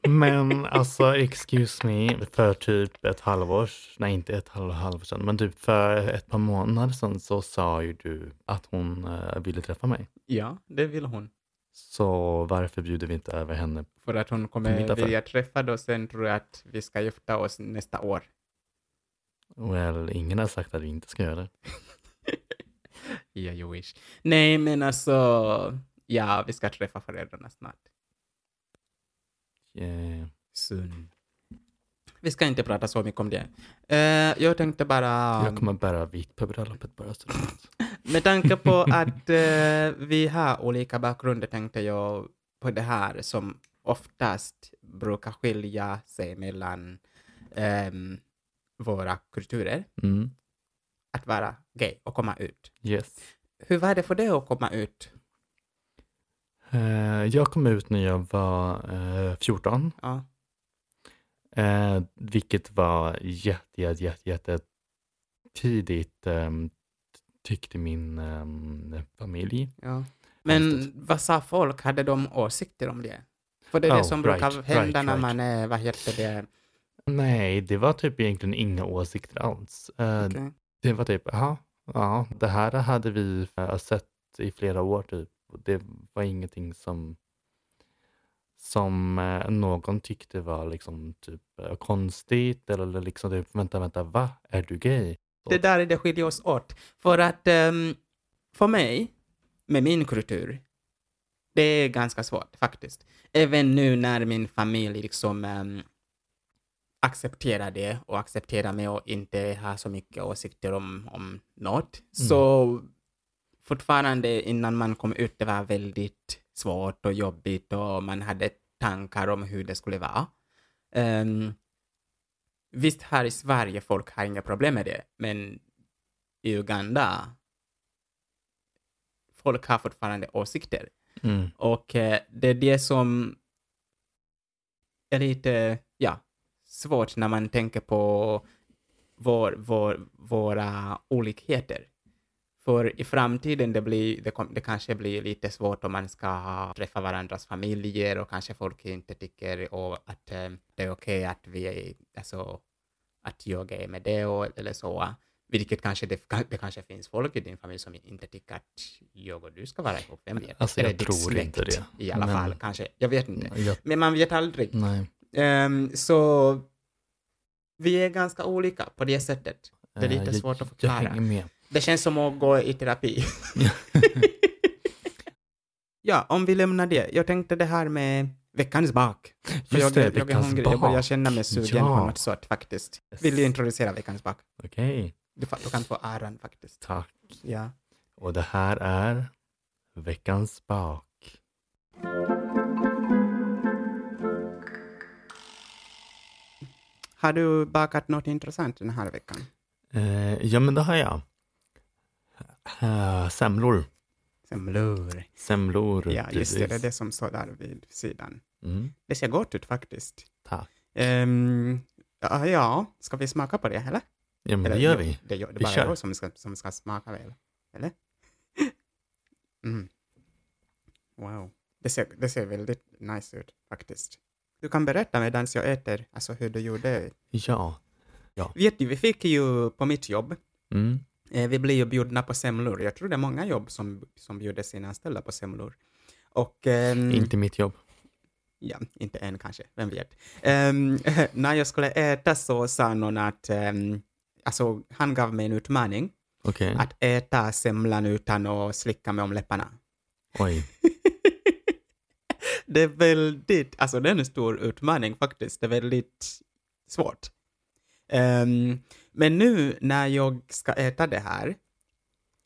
Men alltså, excuse me, för typ ett halvår, nej inte ett halv, halvår sedan, men typ för ett par månader sedan så sa ju du att hon eh, ville träffa mig.
Ja, det vill hon.
Så varför bjuder vi inte över henne?
För att hon kommer
Middag för.
vilja träffa då sen tror jag att vi ska gifta oss nästa år.
Well, ingen har sagt att vi inte ska göra det.
Yeah, you wish. Nej, men alltså, ja, vi ska träffa föräldrarna snart.
Eh,
Soon. Vi ska inte prata så mycket om det. Eh, jag tänkte bara...
Jag kommer bära vitt på bröllopet bara så du vet.
Med tanke på att eh, vi har olika bakgrunder tänkte jag på det här som oftast brukar skilja sig mellan ehm, våra kulturer,
Mm,
att vara gay och komma ut.
yes.
Hur var det för dig att komma ut?
Eh, jag kom ut när jag var eh, 14,
Ja,
eh, vilket var jätte, jätte, jätte, jätte tidigt, eh, tyckte min ehm, familj.
Ja. Men
Konstigt.
vad sa folk? Hade de åsikter om det? För det är
Oh,
det som
right,
brukar hända
right,
när
right.
man är, vad heter det?
Nej, det var typ egentligen inga åsikter alls. Eh,
Okej.
Det var typ, aha, ja, det här hade vi eh, sett i flera år typ. Och Det var ingenting som, som eh, någon tyckte var liksom typ eh, konstigt eller liksom typ, vänta, vänta, va? Är du gay?
Det där är det skiljer oss åt. För att ehm, för mig, med min kultur, det är ganska svårt faktiskt. Även nu när min familj liksom ehm, accepterar det och accepterar mig och inte har så mycket åsikter om, om något. Så fortfarande innan man kom ut, det var väldigt svårt och jobbigt och man hade tankar om hur det skulle vara. Ehm, visst, här i Sverige folk har inga problem med det, men i Uganda folk har fortfarande åsikter.
Mm.
Och eh, det är det som är lite, ja, svårt när man tänker på vår, vår, våra olikheter. För i framtiden det, blir, det, kom, det kanske blir lite svårt om man ska träffa varandras familjer och kanske folk inte tycker och att eh, det är okej att vi är, alltså, att jag är med det och, eller så. Vilket kanske det, det kanske finns folk i din familj som inte tycker att jag och du ska vara ihop, vem vet?
Alltså,
Eller
jag
ditt
tror
släkt
inte det.
I alla
Men-
fall, kanske. Jag vet inte.
Jag,
Men man vet aldrig.
nej.
Ehm, så vi är ganska olika på det sättet. Det är
Eh,
lite
jag,
svårt att
Jag
förklara.
hänger med.
Det känns som att gå i terapi. ja, om vi lämnar det. Jag tänkte det här med veckans bak. För
Just
jag,
det,
jag, jag är
veckans
hungrig. Jag börjar
bak.
känna mig sugen
Ja.
på något sort faktiskt. Vill du introducera veckans bak?
Okej,
Du, fa- du kan få äran faktiskt.
tack.
Ja.
Och det här är veckans bak.
Har du bakat något intressant den här veckan?
Eh, ja, men det har jag. Eh, semlor.
Semlor.
Semlor.
Ja, just det. Det är
precis.
det som står där vid sidan.
Mm,
Det ser gott ut faktiskt.
tack.
Ehm, ja, ja, ska vi smaka på det eller?
Ja, men Mm, det
Eller,
gör
jo,
vi.
Det, gör, det
Vi
bara
kör.
jag som ska, som ska smaka väl. Eller? Mm. Wow. Det ser, det ser väldigt nice ut faktiskt. Du kan berätta medan jag äter, alltså hur du gjorde.
Ja.
Vet du, vi fick ju på mitt jobb,
Mm.
eh, vi blev ju bjudna på semlor. Jag tror det är många jobb som, som bjuder sina anställda på semlor. Och, ehm,
Inte mitt jobb.
Ja, inte än kanske, vem vet. Ehm, när jag skulle äta så sa någon att, ehm, alltså han gav mig en utmaning,
Okej.
att äta semlan utan att slicka mig om läpparna.
Oj.
Det är väldigt, alltså det är en stor utmaning faktiskt, det är väldigt svårt. Ehm, men nu när jag ska äta det här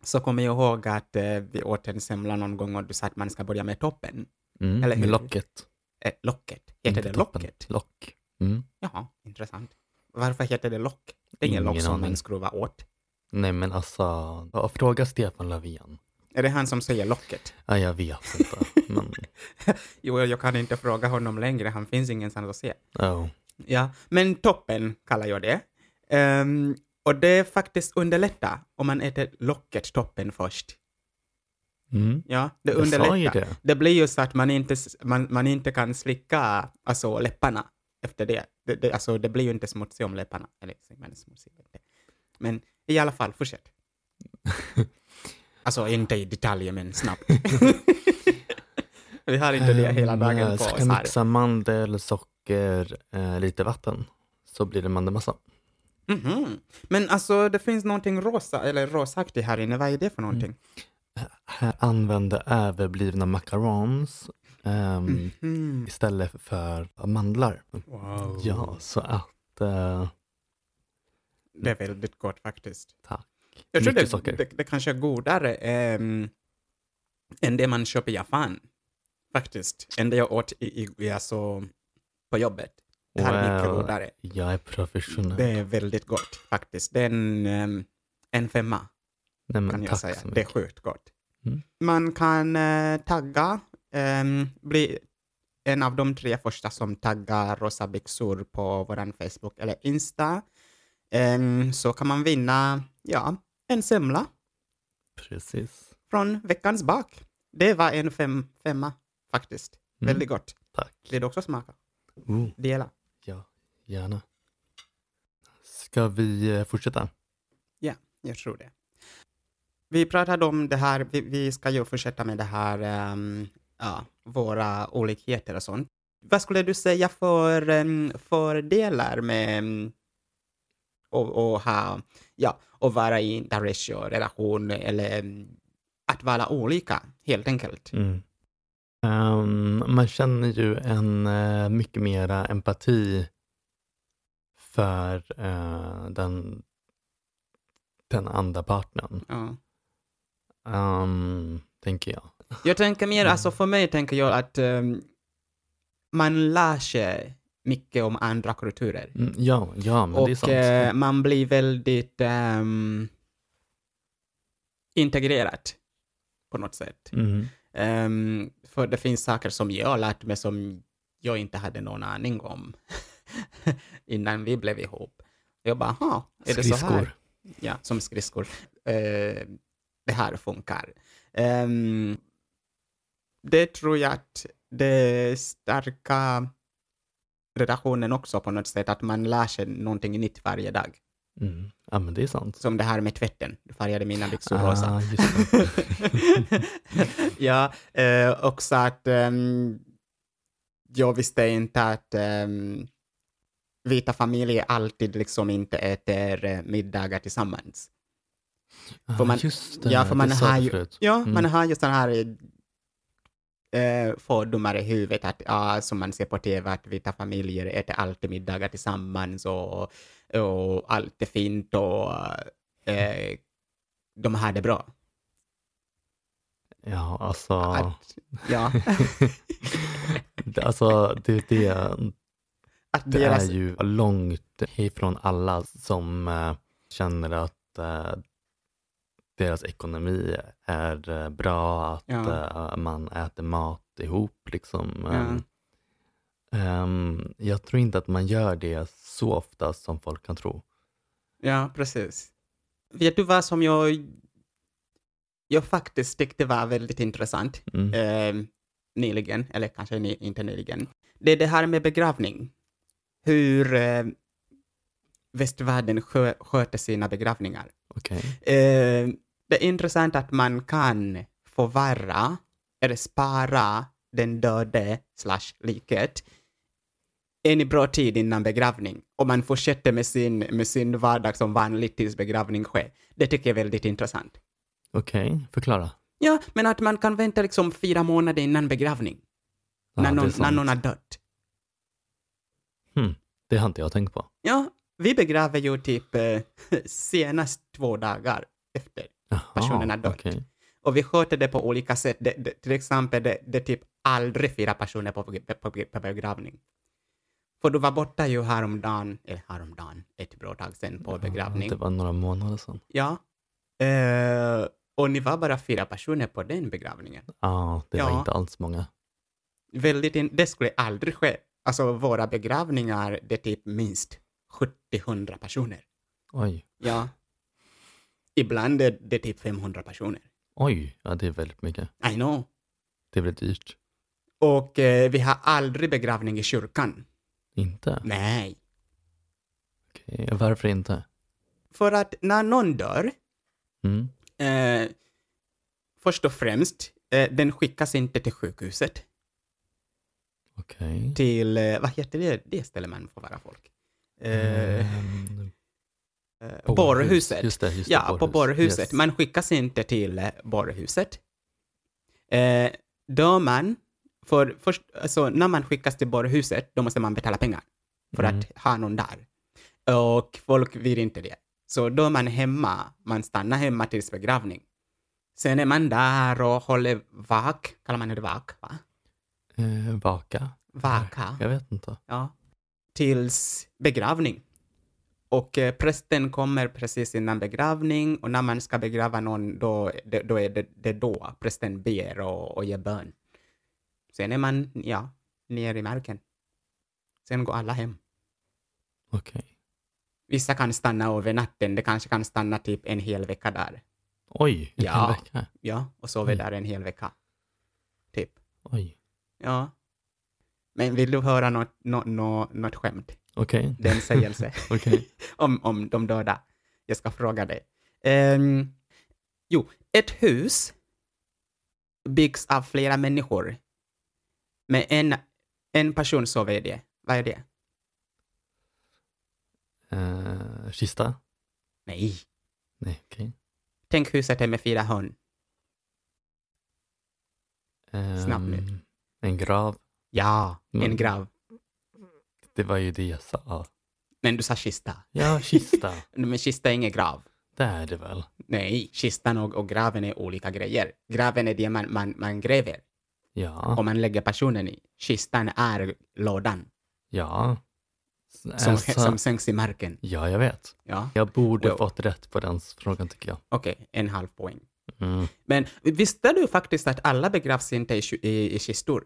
så kommer jag ihåg att eh, vi åt en semla någon gång och du sa att man ska börja med toppen.
Mm.
Eller
Eller
hur?
Locket.
Eh, locket, heter
Inte
det
Mm, toppen.
locket?
Lock. Mm.
Jaha, intressant. Varför heter det lock? Det är ingen
Ingen
lock som
aning.
man skruvar åt.
Nej, men alltså. ja, Fråga Stefan Löfven.
Är det han som säger locket?
Ja, jag vet inte. men,
Jo, jag kan inte fråga honom längre. Han finns ingenstans att se.
oh.
Ja, men toppen kallar jag det. Ehm, och det faktiskt underlättar om man äter locket toppen först.
mm.
Ja, det
Jag sa ju
underlättar.
det.
Det blir ju så att man inte, s- man, man inte kan slicka alltså, läpparna efter det. Det, det. Alltså, det blir ju inte smutsigt om läpparna. Eller, säger man smutsigt? inte. Men i alla fall, fortsätt. alltså, inte i detalj, men snabbt. Vi har inte det hela dagen på
Eh, Ska
oss
jag
här.
mixa mandel, socker, eh, lite vatten. Så blir det mandelmassa.
Mhm. Men alltså, det finns någonting rosa, eller rosaktigt här inne. Vad är det för någonting?
Här använder överblivna macarons ehm,
Mhm.
istället för mandlar.
Wow.
Ja, så att... eh,
Det är väldigt gott faktiskt.
tack.
Jag tror
Mycket
det,
socker.
det, det kanske är godare ehm, än det man köper i Japan. Faktiskt. Än det jag åt i, i, i, alltså, på jobbet. Det här är mycket
Well,
godare.
Jag är professionell.
Det är väldigt gott faktiskt. Det är en, ehm, en femma
Nej, men
kan jag
tack
säga.
så
Det är
mycket.
sjukt gott.
Mm.
Man kan eh, tagga, ehm, bli en av de tre första som taggar rosa byxor på vår Facebook eller Insta. Ehm, så kan man vinna, ja, en semla
Precis.
från veckans bak. Det var en fem, femma faktiskt.
Mm.
Väldigt gott.
Tack.
Vill du också smaka?
Ooh,
Dela.
ja, Oh, gärna. Ska vi eh, fortsätta?
Jag tror det. Vi pratade om det här, vi, vi ska ju fortsätta med det här, ehm, ja, våra olikheter och sånt. Vad skulle du säga för ehm, fördelar med ehm, och, och ha, ja, att vara i en interracial relation eller ehm, att vara olika helt
Mm.
enkelt?
Ehm, man känner ju en eh, mycket mera empati för eh, den, den andra partnern,
Ja.
Ehm, tänker jag.
Jag tänker mer, alltså för mig tänker jag att ehm, man lär sig mycket om andra kulturer.
Mm, ja, ja, men det är
och
sant.
eh, man blir väldigt ehm, integrerad på något sätt.
Mm.
Ehm, för det finns saker som jag har lärt mig som jag inte hade någon aning om innan vi blev ihop. Jag bara, aha, är det så här?
Skridskor.
ja, som skridskor. Eh, det här funkar. Ehm, det tror jag att det starka relationen också på något sätt, att man lär sig någonting nytt varje dag.
Mm. Ja, men det är sant.
Som det här med tvätten, du färgade mina byxor rosa.
Ah, just det.
ja, eh, också att ehm, jag visste inte att ehm, vita familjer alltid liksom inte äter eh, middagar tillsammans. För
Ah,
man-
just det.
ja, för man
det sa
har
du
ju-
förut.
Ja,
Mm.
man har ju sådana här eh, fördomar i huvudet att, ja, som man ser på tv, att vita familjer äter alltid middagar tillsammans och, och allt är fint och eh, de har det bra.
Ja, alltså.
Att, ja,
alltså det, det,
att
det
deras...
är ju långt ifrån alla som eh, känner att eh, deras ekonomi är eh, bra, att
Ja.
eh, man äter mat ihop. Liksom.
Ja.
Ehm, ehm, jag tror inte att man gör det så ofta som folk kan tro.
Ja, precis. Vet du vad som jag, jag faktiskt tyckte var väldigt intressant
Mm.
eh, nyligen, eller kanske ny, inte nyligen? Det är det här med begravning. Hur eh, västvärlden skö, sköter sina begravningar.
Okej.
Eh, det är intressant att man kan förvärra eller spara den döde slash liket en bra tid innan begravning och man fortsätter med sin, med sin vardag som vanligt tills begravning sker. Det tycker jag är väldigt intressant.
Okej, förklara.
Ja, men att man kan vänta liksom fyra månader innan begravning, när,
Ja, det, är
någon, när
sant.
någon har dött.
det har inte jag tänkt på.
Ja, vi begraver ju typ eh, senast två dagar efter.
Jaha,
Personen har dött.
okej.
Och vi sköter det på olika sätt. Det, det, till exempel, det, det är typ aldrig fyra personer på, på, på, på begravning. För du var borta ju häromdagen, eller häromdagen, ett bra tag sedan på
Ja,
begravning.
Det var några månader sedan.
Ja. Eh, och ni var bara fyra personer på den begravningen.
Ja, det
Ja.
var inte alls många.
Väldigt in, det skulle aldrig ske. Alltså våra begravningar, det är typ minst 70-100 personer.
Oj,
Ja. Ibland är det typ 500 personer.
oj, ja, det är väldigt mycket.
I know.
Det blir dyrt.
Och eh, vi har aldrig begravning i kyrkan.
Inte?
Nej.
Okej, Varför inte?
För att när någon dör,
Mm.
eh, först och främst, eh, den skickas inte till sjukhuset,
Okej.
till, eh, vad heter det, det ställer man för våra folk? Eh, eh,
Ehm,
borrhuset.
Just det, just det,
Ja, på borrhuset.
Typ Yes.
Man skickas inte till eh, borrhuset. Eh, dör man, för först, alltså, när man skickas till borrhuset, då måste man betala pengar för
Mm.
att ha någon där. Och folk vill inte det. Så då är man hemma, man stannar hemma tills begravning. Sen är man där och håller vak, kallar man det vak, va?
Eh, vaka?
Vaka,
Jag vet inte.
ja. Tills begravning. Och eh, prästen kommer precis innan begravning och när man ska begrava någon, då, det, då är det, det är då prästen ber och, och ger bön. Sen är man, ja, ner i marken. Sen går alla hem.
Okej.
Vissa kan stanna över natten, de kanske kan stanna typ en hel vecka där.
Oj, vilken
Ja.
vecka.
Ja, och så vi
Oj.
där en hel vecka. Typ.
Oj,
Ja. Men vill du höra något, nå nå något skämt?
okej.
Det är en sägelse
Okej.
om, om de döda. Jag ska fråga dig. Ehm, jo, ett hus byggs av flera människor. Men en, en person sover i det. Vad är det?
Eh, kista?
Nej.
Nej, okej.
Tänk huset är med fyra hörn.
Ehm,
Snabb nu.
En grav.
Ja, en
Mm.
grav.
Det var ju det jag sa.
Men du sa kista.
Ja, kista.
Men kista är ingen grav.
det är det väl?
Nej, kistan och, och graven är olika grejer. Graven är det man, man, man gräver och
Ja.
man lägger personen i. Kistan är lådan
Ja.
som,
Alltså,
som sänks i marken.
Ja, jag vet.
Ja,
Jag borde
Wow.
fått rätt på den frågan tycker jag.
okej, en halv poäng.
Mm.
Men visste du faktiskt att alla begravs inte i, ki- i, i kistor?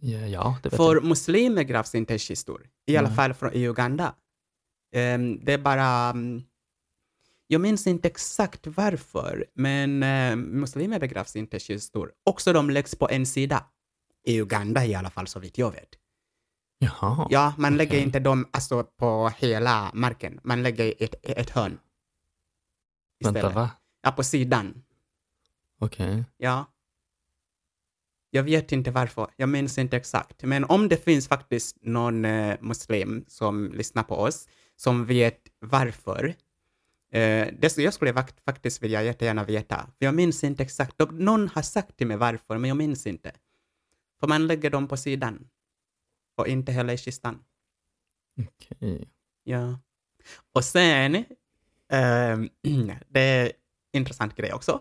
Ja, ja, det vet
För
jag.
muslimer gravs inte i kistor, i alla
Nej.
fall från i Uganda. Ehm, det är bara... mm, jag minns inte exakt varför, men eh, muslimer begravs inte i kistor. Också de läggs på en sida. I Uganda i alla fall, så vitt jag vet.
Jaha.
Ja, man lägger
okej.
inte dem alltså, på hela marken. Man lägger i ett, ett hörn.
Vänta,
istället.
va?
Ja, på sidan.
Okej.
Ja. Jag vet inte varför, jag minns inte exakt. Men om det finns faktiskt någon eh, muslim som lyssnar på oss, som vet varför, eh, det, skulle- jag skulle vakt, faktiskt vilja jättegärna veta. För jag minns inte exakt. Och Någon har sagt till mig varför, men jag minns inte. För man lägger dem på sidan. Och inte heller i kistan.
Okej.
Ja. Och sen, ehm, det är en intressant grej också.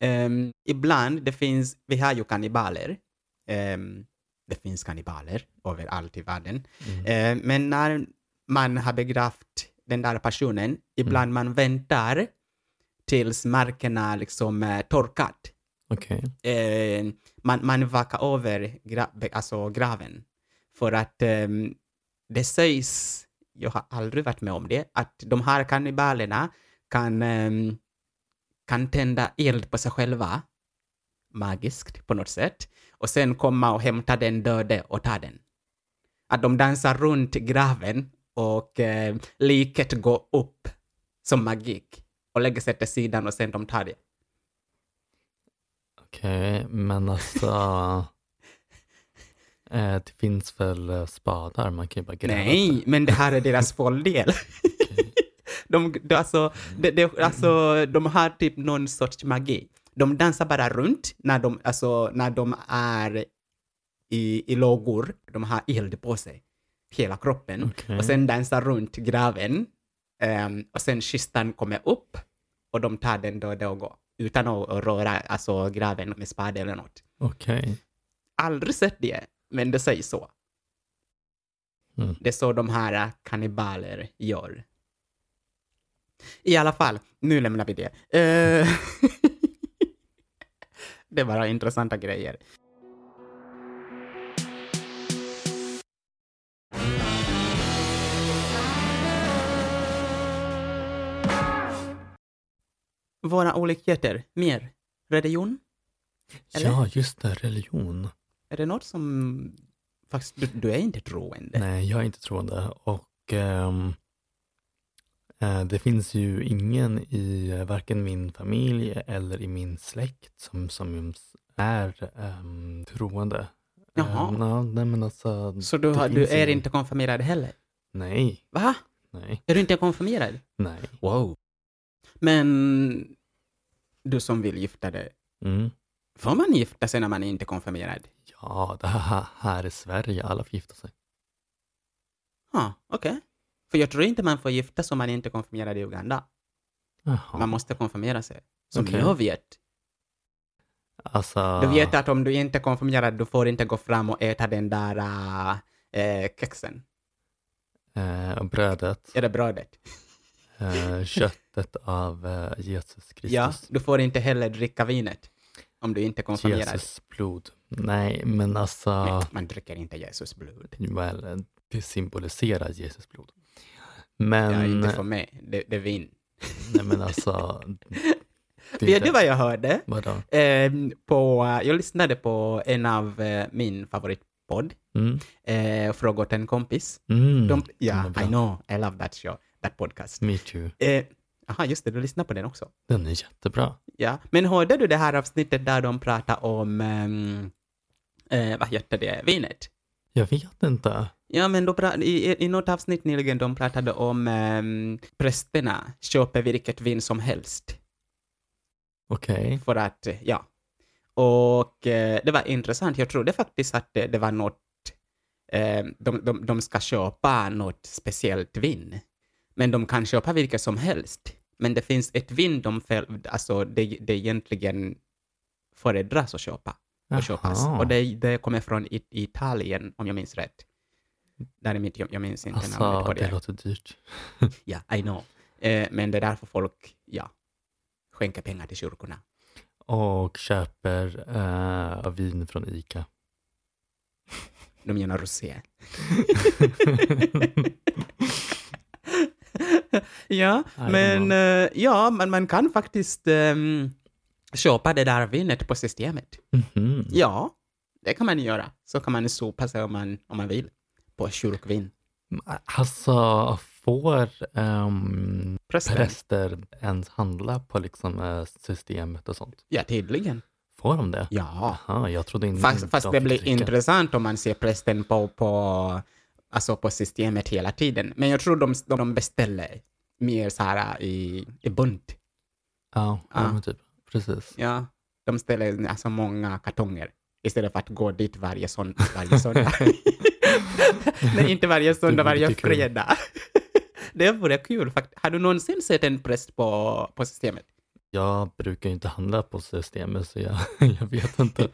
Ehm, ibland, det finns, vi har ju kannibaler. Ehm, det finns kannibaler överallt i världen.
Mm.
Ehm, men när man har begravt den där personen, ibland man väntar tills marken är liksom eh, torkat.
Okej.
Eh, man, man vakar över gra, be- alltså graven. För att ehm, det sägs, jag har aldrig varit med om det, att de här kannibalerna kan, ehm, kan tända eld på sig själva, magiskt på något sätt, och sen komma och hämta den döde och ta den. Att de dansar runt graven och eh, liket går upp som magik och lägger sig till sidan och sen de tar det.
Okej, men alltså. eh, det finns väl eh, spadar? Man kan ju bara gräva.
Nej, men det här är deras folldel. de, de, alltså, de, de, alltså, de har typ någon sorts magi. De dansar bara runt när de, alltså, när de är i, i lågor. De har eld på sig, hela kroppen.
Okej.
Och sen dansar runt graven. Ehm, och sen kistan kommer upp och de tar den döda och går. Utan att, att röra alltså, graven med spade eller något.
Okej.
Aldrig sett det, men det sägs så.
Mm.
Det är så de här kannibaler gör. I alla fall, nu lämnar vi det. Eh, det är bara intressanta grejer. Våra olikheter, mer. Religion? Eller? Eh.
Ja, just det. Religion.
Är det något som... Faktiskt, du, du är inte troende.
Nej, jag är inte troende. Och ehm, eh, det finns ju ingen i eh, varken min familj eller i min släkt som, som är um, troende.
Jaha.
Ehm, ja, nej, men alltså,
Så du,
det
har, du
finns
är
ingen-
inte konfirmerad heller?
Nej,
Va?
nej,
Är du inte konfirmerad?
nej.
Wow. Men du som vill gifta dig,
Mm.
får man gifta sig när man inte är konfirmerad?
Ja, det här, här i Sverige, alla får gifta sig.
Ja, okej. För jag tror inte man får gifta sig om man inte är konfirmerad i Uganda.
Jaha.
Man måste konfirmera sig. Som
Okej.
jag vet.
Alltså,
Du vet att om du inte är konfirmerad, du får inte gå fram och äta den där äh, eh, kexen.
eh, brödet,
Eller brödet.
eh, köttet av eh, Jesus Kristus.
Ja, du får inte heller dricka vinet. Om du inte är konfirmerad.
Jesus blod. Nej, men alltså,
Nej, man dricker inte Jesus blod.
väl, det symboliserar Jesus blod. Men, eh,
Ja, inte för mig. Det, det är vin.
alltså, nej, men alltså, inte.
vet du vad jag hörde?
Vadå?
Ehm, på, jag lyssnade på en av eh, min favoritpodd,
Mm.
eh, Fråga åt en kompis.
Mm.
De, ja,
den var bra.
I know, I love that show, that podcast.
Me too.
Eh, aha, just det, du lyssnar på den också.
Den är jättebra.
Ja, men hörde du det här avsnittet där de pratar om, ehm, eh, vad heter det, vinet?
Jag vet inte.
Ja, men då pra- i, i något avsnitt nyligen de pratade om um, prästerna köper vilket vin som helst
Okej.
för att, eh, ja. Och eh, det var intressant. Jag trodde faktiskt att det, det var något, eh, de, de, de ska köpa något speciellt vin. Men de kan köpa vilket som helst. Men det finns ett vin de fel, alltså det, det egentligen föredras att köpa och köpas.
Jaha.
Och det, det kommer från It- Italien, om jag minns rätt. Däremot, jag, jag minns inte namnet
Alltså,
på det.
det låter dyrt.
Ja, I know. Eh, men det är därför folk, ja, skänker pengar till kyrkorna.
Och köper eh, vin från Ica.
De menar rosé. ja,
I don't
men
know.
eh, ja, man, man kan faktiskt ehm, köpa det där vinet på systemet.
Mhm.
Ja, det kan man göra. Så kan man sopa sig om man, om man vill på kyrkvin.
Alltså, får ehm,
Prästen.
präster ens handla på liksom, eh, systemet och sånt?
Ja, tydligen.
Får de det?
Ja.
Aha, jag trodde inte
Fast, fast
de
det
fick
blir
dricka.
intressant om man ser prästen på, på, alltså på systemet hela tiden. Men jag tror de, de beställer mer så här i, i bunt.
Ja, ja.
Ja.
men typ. Precis.
Ja, de ställer alltså många kartonger istället för att gå dit varje, sån, varje söndag. Nej, inte varje söndag,
vore
varje
lite kul.
fredag. det vore kul. fakt- Har du någonsin sett en präst på, på systemet?
Jag brukar ju inte handla på systemet så jag, jag vet inte.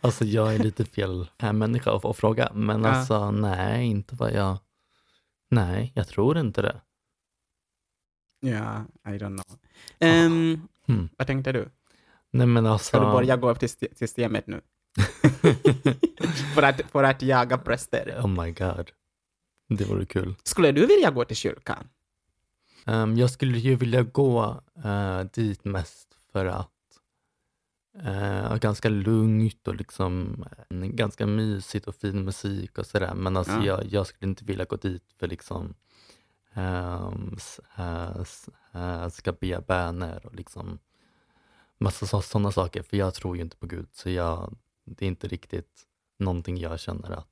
Alltså jag är lite fel här människa att, att fråga. Men
Ja.
alltså nej, inte vad jag... Nej, jag tror inte det.
Ja, I don't know. Ehm,
Hmm.
Vad tänkte du?
Nej men alltså...
Ska du börja gå upp till st- systemet nu? för, att, för att jaga präster.
Oh my god. Det vore kul.
Skulle du vilja gå till kyrkan?
Ehm, jag skulle ju vilja gå eh, dit mest för att eh, ha ganska lugnt och liksom eh, ganska mysigt och fin musik och sådär. Men alltså
Ja.
jag, jag skulle inte vilja gå dit för liksom ehm, s- eh, s- eh, ska be böner och liksom massa sådana saker. För jag tror ju inte på Gud så jag, det är inte riktigt någonting jag känner att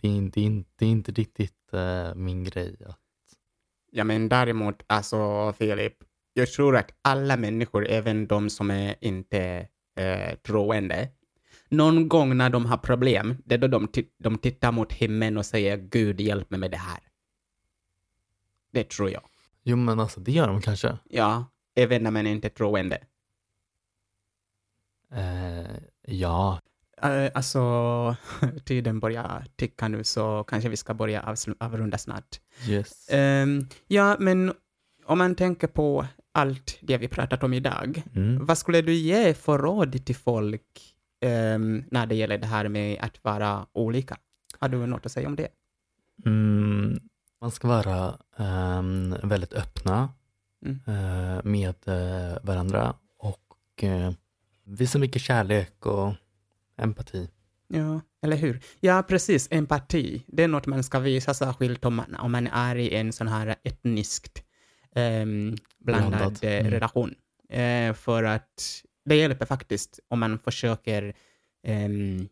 det är, in- det är, in- det är inte riktigt eh, min grej att
Ja, men däremot, alltså Filip, jag tror att alla människor, även de som är inte eh, troende, någon gång när de har problem, det är då de, ti- de tittar mot himlen och säger Gud hjälp mig med det här. Det tror jag.
Jo men alltså det gör de kanske.
Ja, även när man inte är troende.
Eh, ja,
Eh, Alltså, tiden börjar ticka nu så kanske vi ska börja avslu- avrunda snart.
yes.
Ehm, ja, men om man tänker på allt det vi pratat om idag,
Mm.
vad skulle du ge för råd till folk ehm, när det gäller det här med att vara olika? Har du något att säga om det?
Mm, man ska vara ehm, väldigt öppna
Mm.
eh, med eh, varandra och eh, visa mycket kärlek och empati.
Ja, eller hur? Ja, precis. Empati. Det är något man ska visa särskilt om man, om man är i en sån här etniskt ehm, blandad
Blandat.
eh,
Mm.
relation. Eh, för att det hjälper faktiskt om man försöker ehm,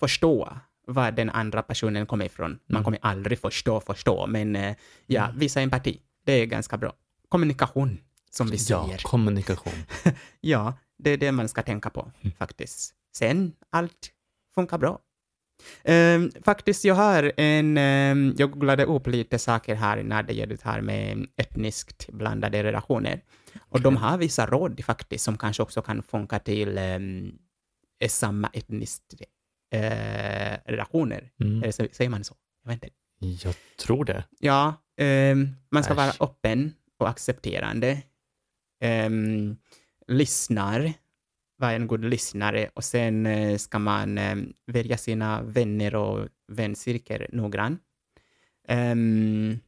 förstå var den andra personen kommer ifrån. Man
Mm.
kommer aldrig förstå, förstå, men eh, ja,
Mm.
visa empati. Det är ganska bra. Kommunikation, som vi
Ja,
säger.
kommunikation.
Ja, det är det man ska tänka på faktiskt. Sen, allt funkar bra. Ehm, faktiskt, jag har en... ehm, jag googlade upp lite saker här när det gäller det här med etniskt blandade relationer. Och de har vissa råd faktiskt som kanske också kan funka till ehm, samma etniskt eh, relationer.
Mm.
Eller så- säger man så? Jag vet inte.
Jag tror det.
Ja, ehm, man ska
Äsch.
vara öppen och accepterande. Um, lyssnar, vara en god lyssnare och sen eh, ska man ehm, välja sina vänner och väncirkel noggrant. Ehm,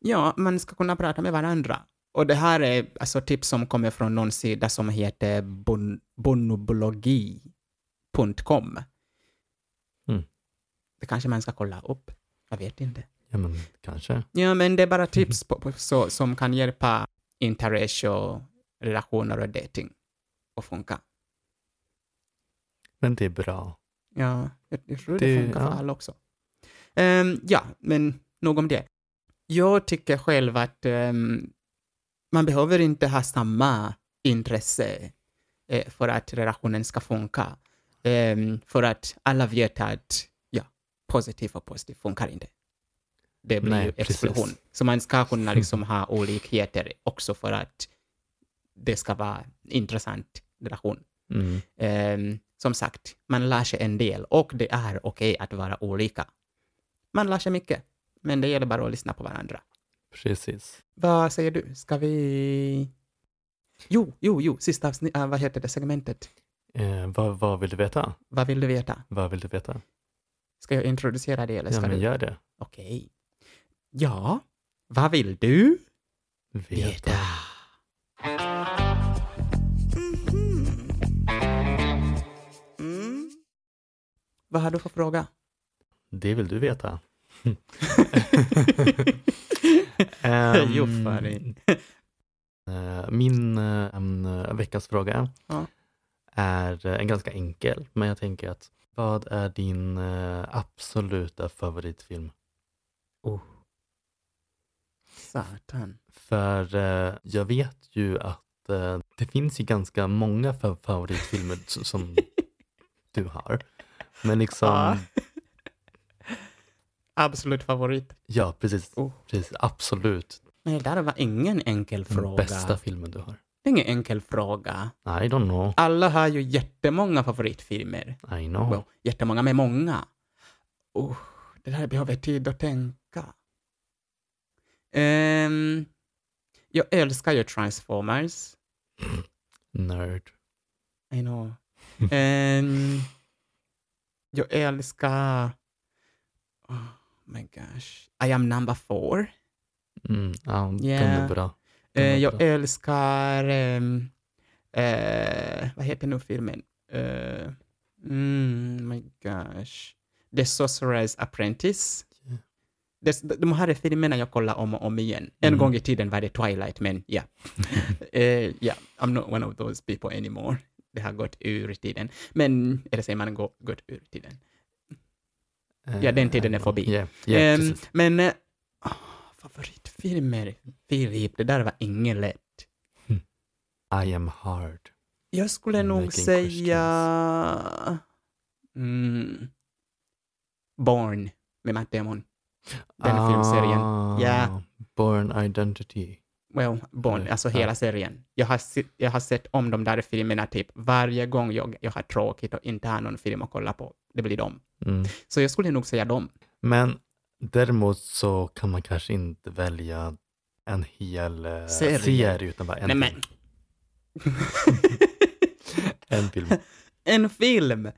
Ja, man ska kunna prata med varandra. Och det här är alltså tips som kommer från någon sida som heter bon- bonobologi.com.
Mm.
Det kanske man ska kolla upp. Jag vet inte.
Ja, men kanske.
Ja, men det är bara tips på, på, så, som kan hjälpa interracial relationer och dating att funka.
Men det är bra.
Ja, jag, jag tror det,
Det-
funkar
ja.
för alla också. Ehm, ja, men nog om det. Jag tycker själv att ehm, man behöver inte ha samma intresse eh, för att relationen ska funka. Ehm, för att alla vet att ja, positiv och positiv funkar inte. Det blir
Nej,
ju
precis.
explosion. Så man ska kunna liksom ha olikheter också för att det ska vara intressant relation.
Mm.
Ehm, som sagt, man lär sig en del och det är okej att vara olika. Man lär sig mycket, men det gäller bara att lyssna på varandra.
Precis.
Vad säger du? Ska vi... Jo, jo, jo, sista avsnitt, äh, vad heter det segmentet?
Eh, vad, vad vill du veta?
Vad vill du veta?
Vad vill du veta?
Ska jag introducera det eller
Ja,
ska
men
du?
gör det.
Okej. Ja, vad vill du
Veta.
veta? Mm. Vad har du för fråga?
Det vill du veta.
Jo, fan.
Ehm, eh, Min eh, en, eh, veckans fråga
Ja.
är eh, en ganska enkel, men jag tänker att vad är din eh, absoluta favoritfilm?
Satan.
För eh, jag vet ju att eh, det finns ju ganska många fa- favoritfilmer s- som du har. Men liksom,
Ja. Absolut favorit.
ja precis,
Oh.
precis, absolut
Men det där var ingen enkel
den
fråga.
bästa filmen du har.
Det är ingen enkel fråga.
I don't know,
Alla har ju jättemånga favoritfilmer.
I know.
Well, jättemånga med många. Oh, det där behöver tid att tänka. Ehm, jag älskar ju Transformers.
Nerd.
I know. Ehm, jag älskar... Oh my gosh. I am number four.
Mm, ja, Den
Yeah.
är bra.
Eh,
Den var
jag
bra.
älskar... ehm, eh, vad heter nu filmen? Eh, mm, my gosh. The Sorcerer's Apprentice.
Ja.
Det- De här är filmerna jag kollar om och om igen. En
Mm.
gång i tiden var det Twilight, men ja. Eh, Ja, I'm not one of those people anymore. Det har gått ur tiden. Men, eller säger man gå, gått ur tiden? ja, den tiden är förbi.
Eh, Yeah, yeah,
Ehm,
precis.
men eh, ah, favoritfilmer, Filip, det där var inget lätt.
I am hard.
Jag skulle nog
Making
säga... Mm, Born med Matt Damon. Den filmserien. Ja.
Ah, Born Identity.
Well, Born,
Eller,
alltså
ja.
hela serien. Jag har, se- jag har sett om de där filmerna typ varje gång jag, jag har tråkigt och inte har någon film att kolla på. Det blir dem.
Mm.
Så jag skulle nog säga dem.
Men däremot så kan man kanske inte välja en hel eh,
Serie.
serie utan bara en,
Nej, men
film. en film.
en film!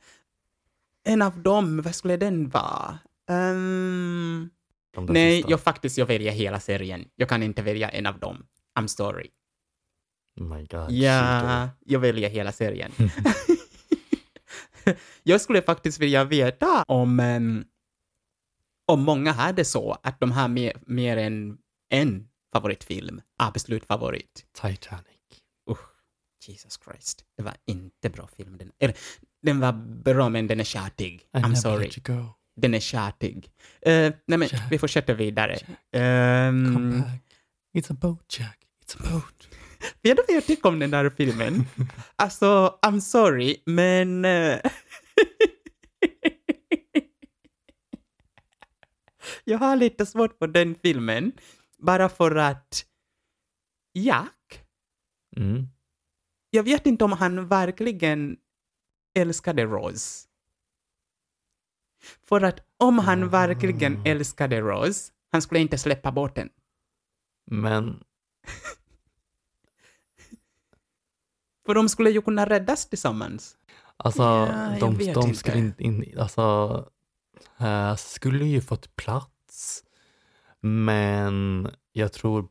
En av dem, vad skulle den vara? Ehm,
De där
nej,
sista.
jag faktiskt jag väljer hela serien. Jag kan inte välja en av dem. I'm sorry.
Oh my
Ah,
god.
Ja, jag väljer hela serien. jag skulle faktiskt vilja veta om, em, om många hade så, att de har mer, mer än en favoritfilm, absolut favorit.
Titanic.
Jesus Christ, det var inte bra film. Den, eller, den var bra, men Ah, den är tjatig.
I
I'm
never
sorry.
let you go.
Den är tjatig. Eh, nej, men vi fortsätter vidare. Ehm,
Come back. It's a boat Jack. It's a boat.
Vet du vad jag tycker om den där filmen? Alltså, I'm sorry, men... eh, jag har lite svårt för den filmen. Bara för att Jack,
Mm.
jag vet inte om han verkligen älskade Rose. För att om han verkligen
Ah.
älskade Rose, han skulle inte släppa bort den.
Men
För de skulle ju kunna räddas tillsammans.
alltså,
Ja, jag
de,
vet
de
inte.
skulle inte in, alltså, eh, skulle ju fått plats. Men jag tror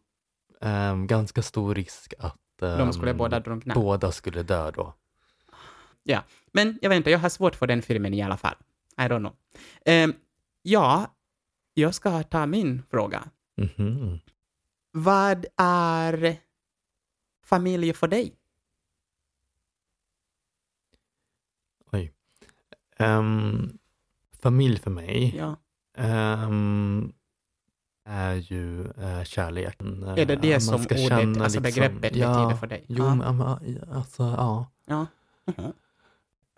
ehm, ganska stor risk att
De skulle
ehm,
båda drunkna.
båda skulle dö då.
Men jag vet inte, jag har svårt för den filmen i alla fall. I don't know. Ehm, ja, jag ska ta min fråga.
Mhm.
Vad är familj för dig?
Ehm, familj för mig
Ja.
ehm, är ju eh, kärleken.
Är det det
Man
som
ska
ordet,
känna liksom-
alltså begreppet betyder för dig?
Jo,
Ja.
men, men, alltså ja.
Mhm.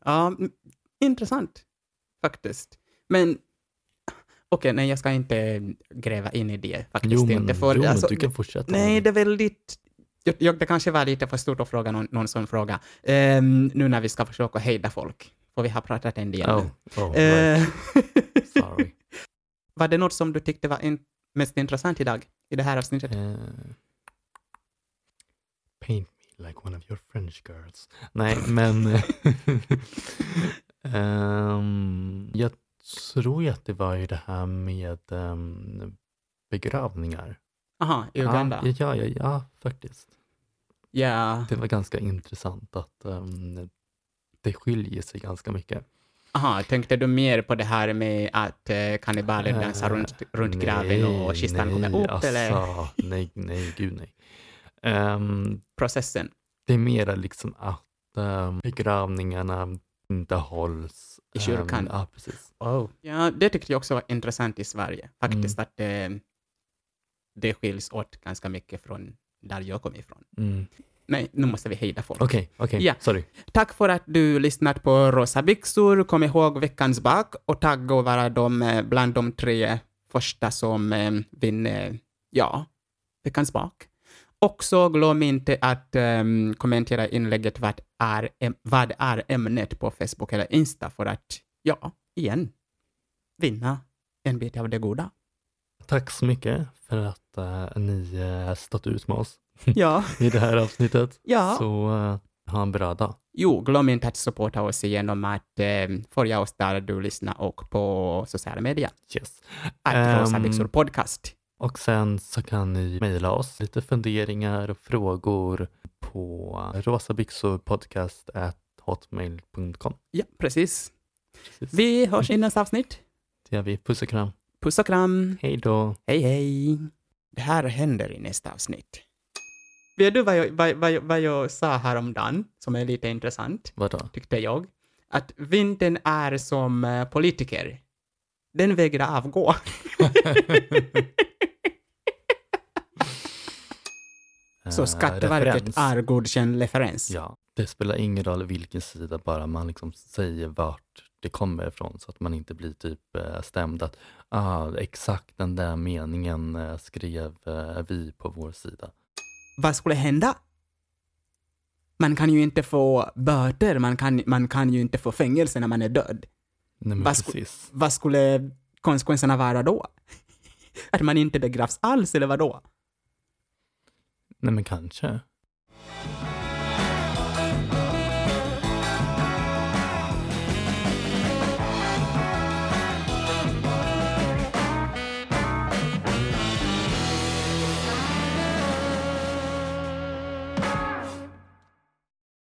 Ja, m- intressant faktiskt. Men okej, nej, jag ska inte gräva in i det faktiskt.
Jo, men,
inte, för,
jo, men
alltså,
du kan fortsätta.
Nej, det är väldigt... Jag, jag, det kanske var lite för stort att fråga någon, någon sån fråga. Ehm, nu när vi ska försöka hejda folk, för vi har pratat en del.
Oh,
nu.
oh, right.
Eh,
Sorry.
var det något som du tyckte var in, mest intressant idag, i det här avsnittet?
Eh, paint me like one of your French girls. Nej, men... eh, Ehm, jag tror ju att det var ju det här med ehm, begravningar.
Aha, i Uganda.
Ja, ja, ja, ja, faktiskt.
Ja,
Det var ganska intressant att ehm, det skiljer sig ganska mycket.
aha, tänkte du mer på det här med att eh, kannibaler dansar
Eh,
runt, runt
nej,
graven och, och kistan
nej,
kommer upp,
alltså,
eller
Nej, nej, gud nej. Ehm,
processen?
Det är mera liksom att ehm, begravningarna inte hålls.
I
ehm,
kyrkan.
ja, precis.
Oh. Ja, det tyckte jag också var intressant i Sverige, faktiskt, att eh, det skiljs åt ganska mycket från där jag kom ifrån.
Mm.
Nej, nu måste vi hejda folk.
Okej, okej,
Ja.
sorry.
Tack för att du lyssnat på Rosa byxor. Kom ihåg veckans bak och tagga och vara de, eh, bland de tre första som eh, vinner, ja, veckans bak. Också glöm inte att eh, kommentera inlägget vad är, äm- vad är ämnet på Facebook eller Insta för att, ja, igen, vinna en bit av det goda.
Tack så mycket för att eh, ni eh, stått ut med oss
Ja.
i det här avsnittet.
Ja.
Så eh, ha en bra dag.
Jo, glöm inte att supporta oss genom att eh, följa oss där du lyssnar och på sociala medier.
Yes.
Att Rosa
Ehm,
byxor podcast.
Och sen så kan ni mejla oss lite funderingar och frågor på rosabyxorpodcast.hotmail.com.
Ja, precis.
Precis.
Vi hörs i nästa avsnitt.
Det gör vi. Puss och kram.
Puss och kram.
Hej då.
Hej, hej. Det här händer i nästa avsnitt. Vet du vad jag, vad, vad, jag- vad jag sa häromdagen, som är lite intressant,
Vadå?
tyckte jag? Att vintern är som eh, politiker. Den vägrar avgå. Så Ah,
Eh,
Skatteverket
referens.
är godkänd referens.
Ja, det spelar ingen roll vilken sida, bara man liksom säger vart det kommer ifrån så att man inte blir typ eh, stämd att ah, exakt den där meningen eh, skrev eh, vi på vår sida.
vad skulle hända? Man kan ju inte få böter, man kan, man kan ju inte få fängelse när man är död.
Nej men
Vad sku-
precis.
Vad skulle konsekvenserna vara då? Att man inte begravs alls, eller vad då?
Nej men kanske.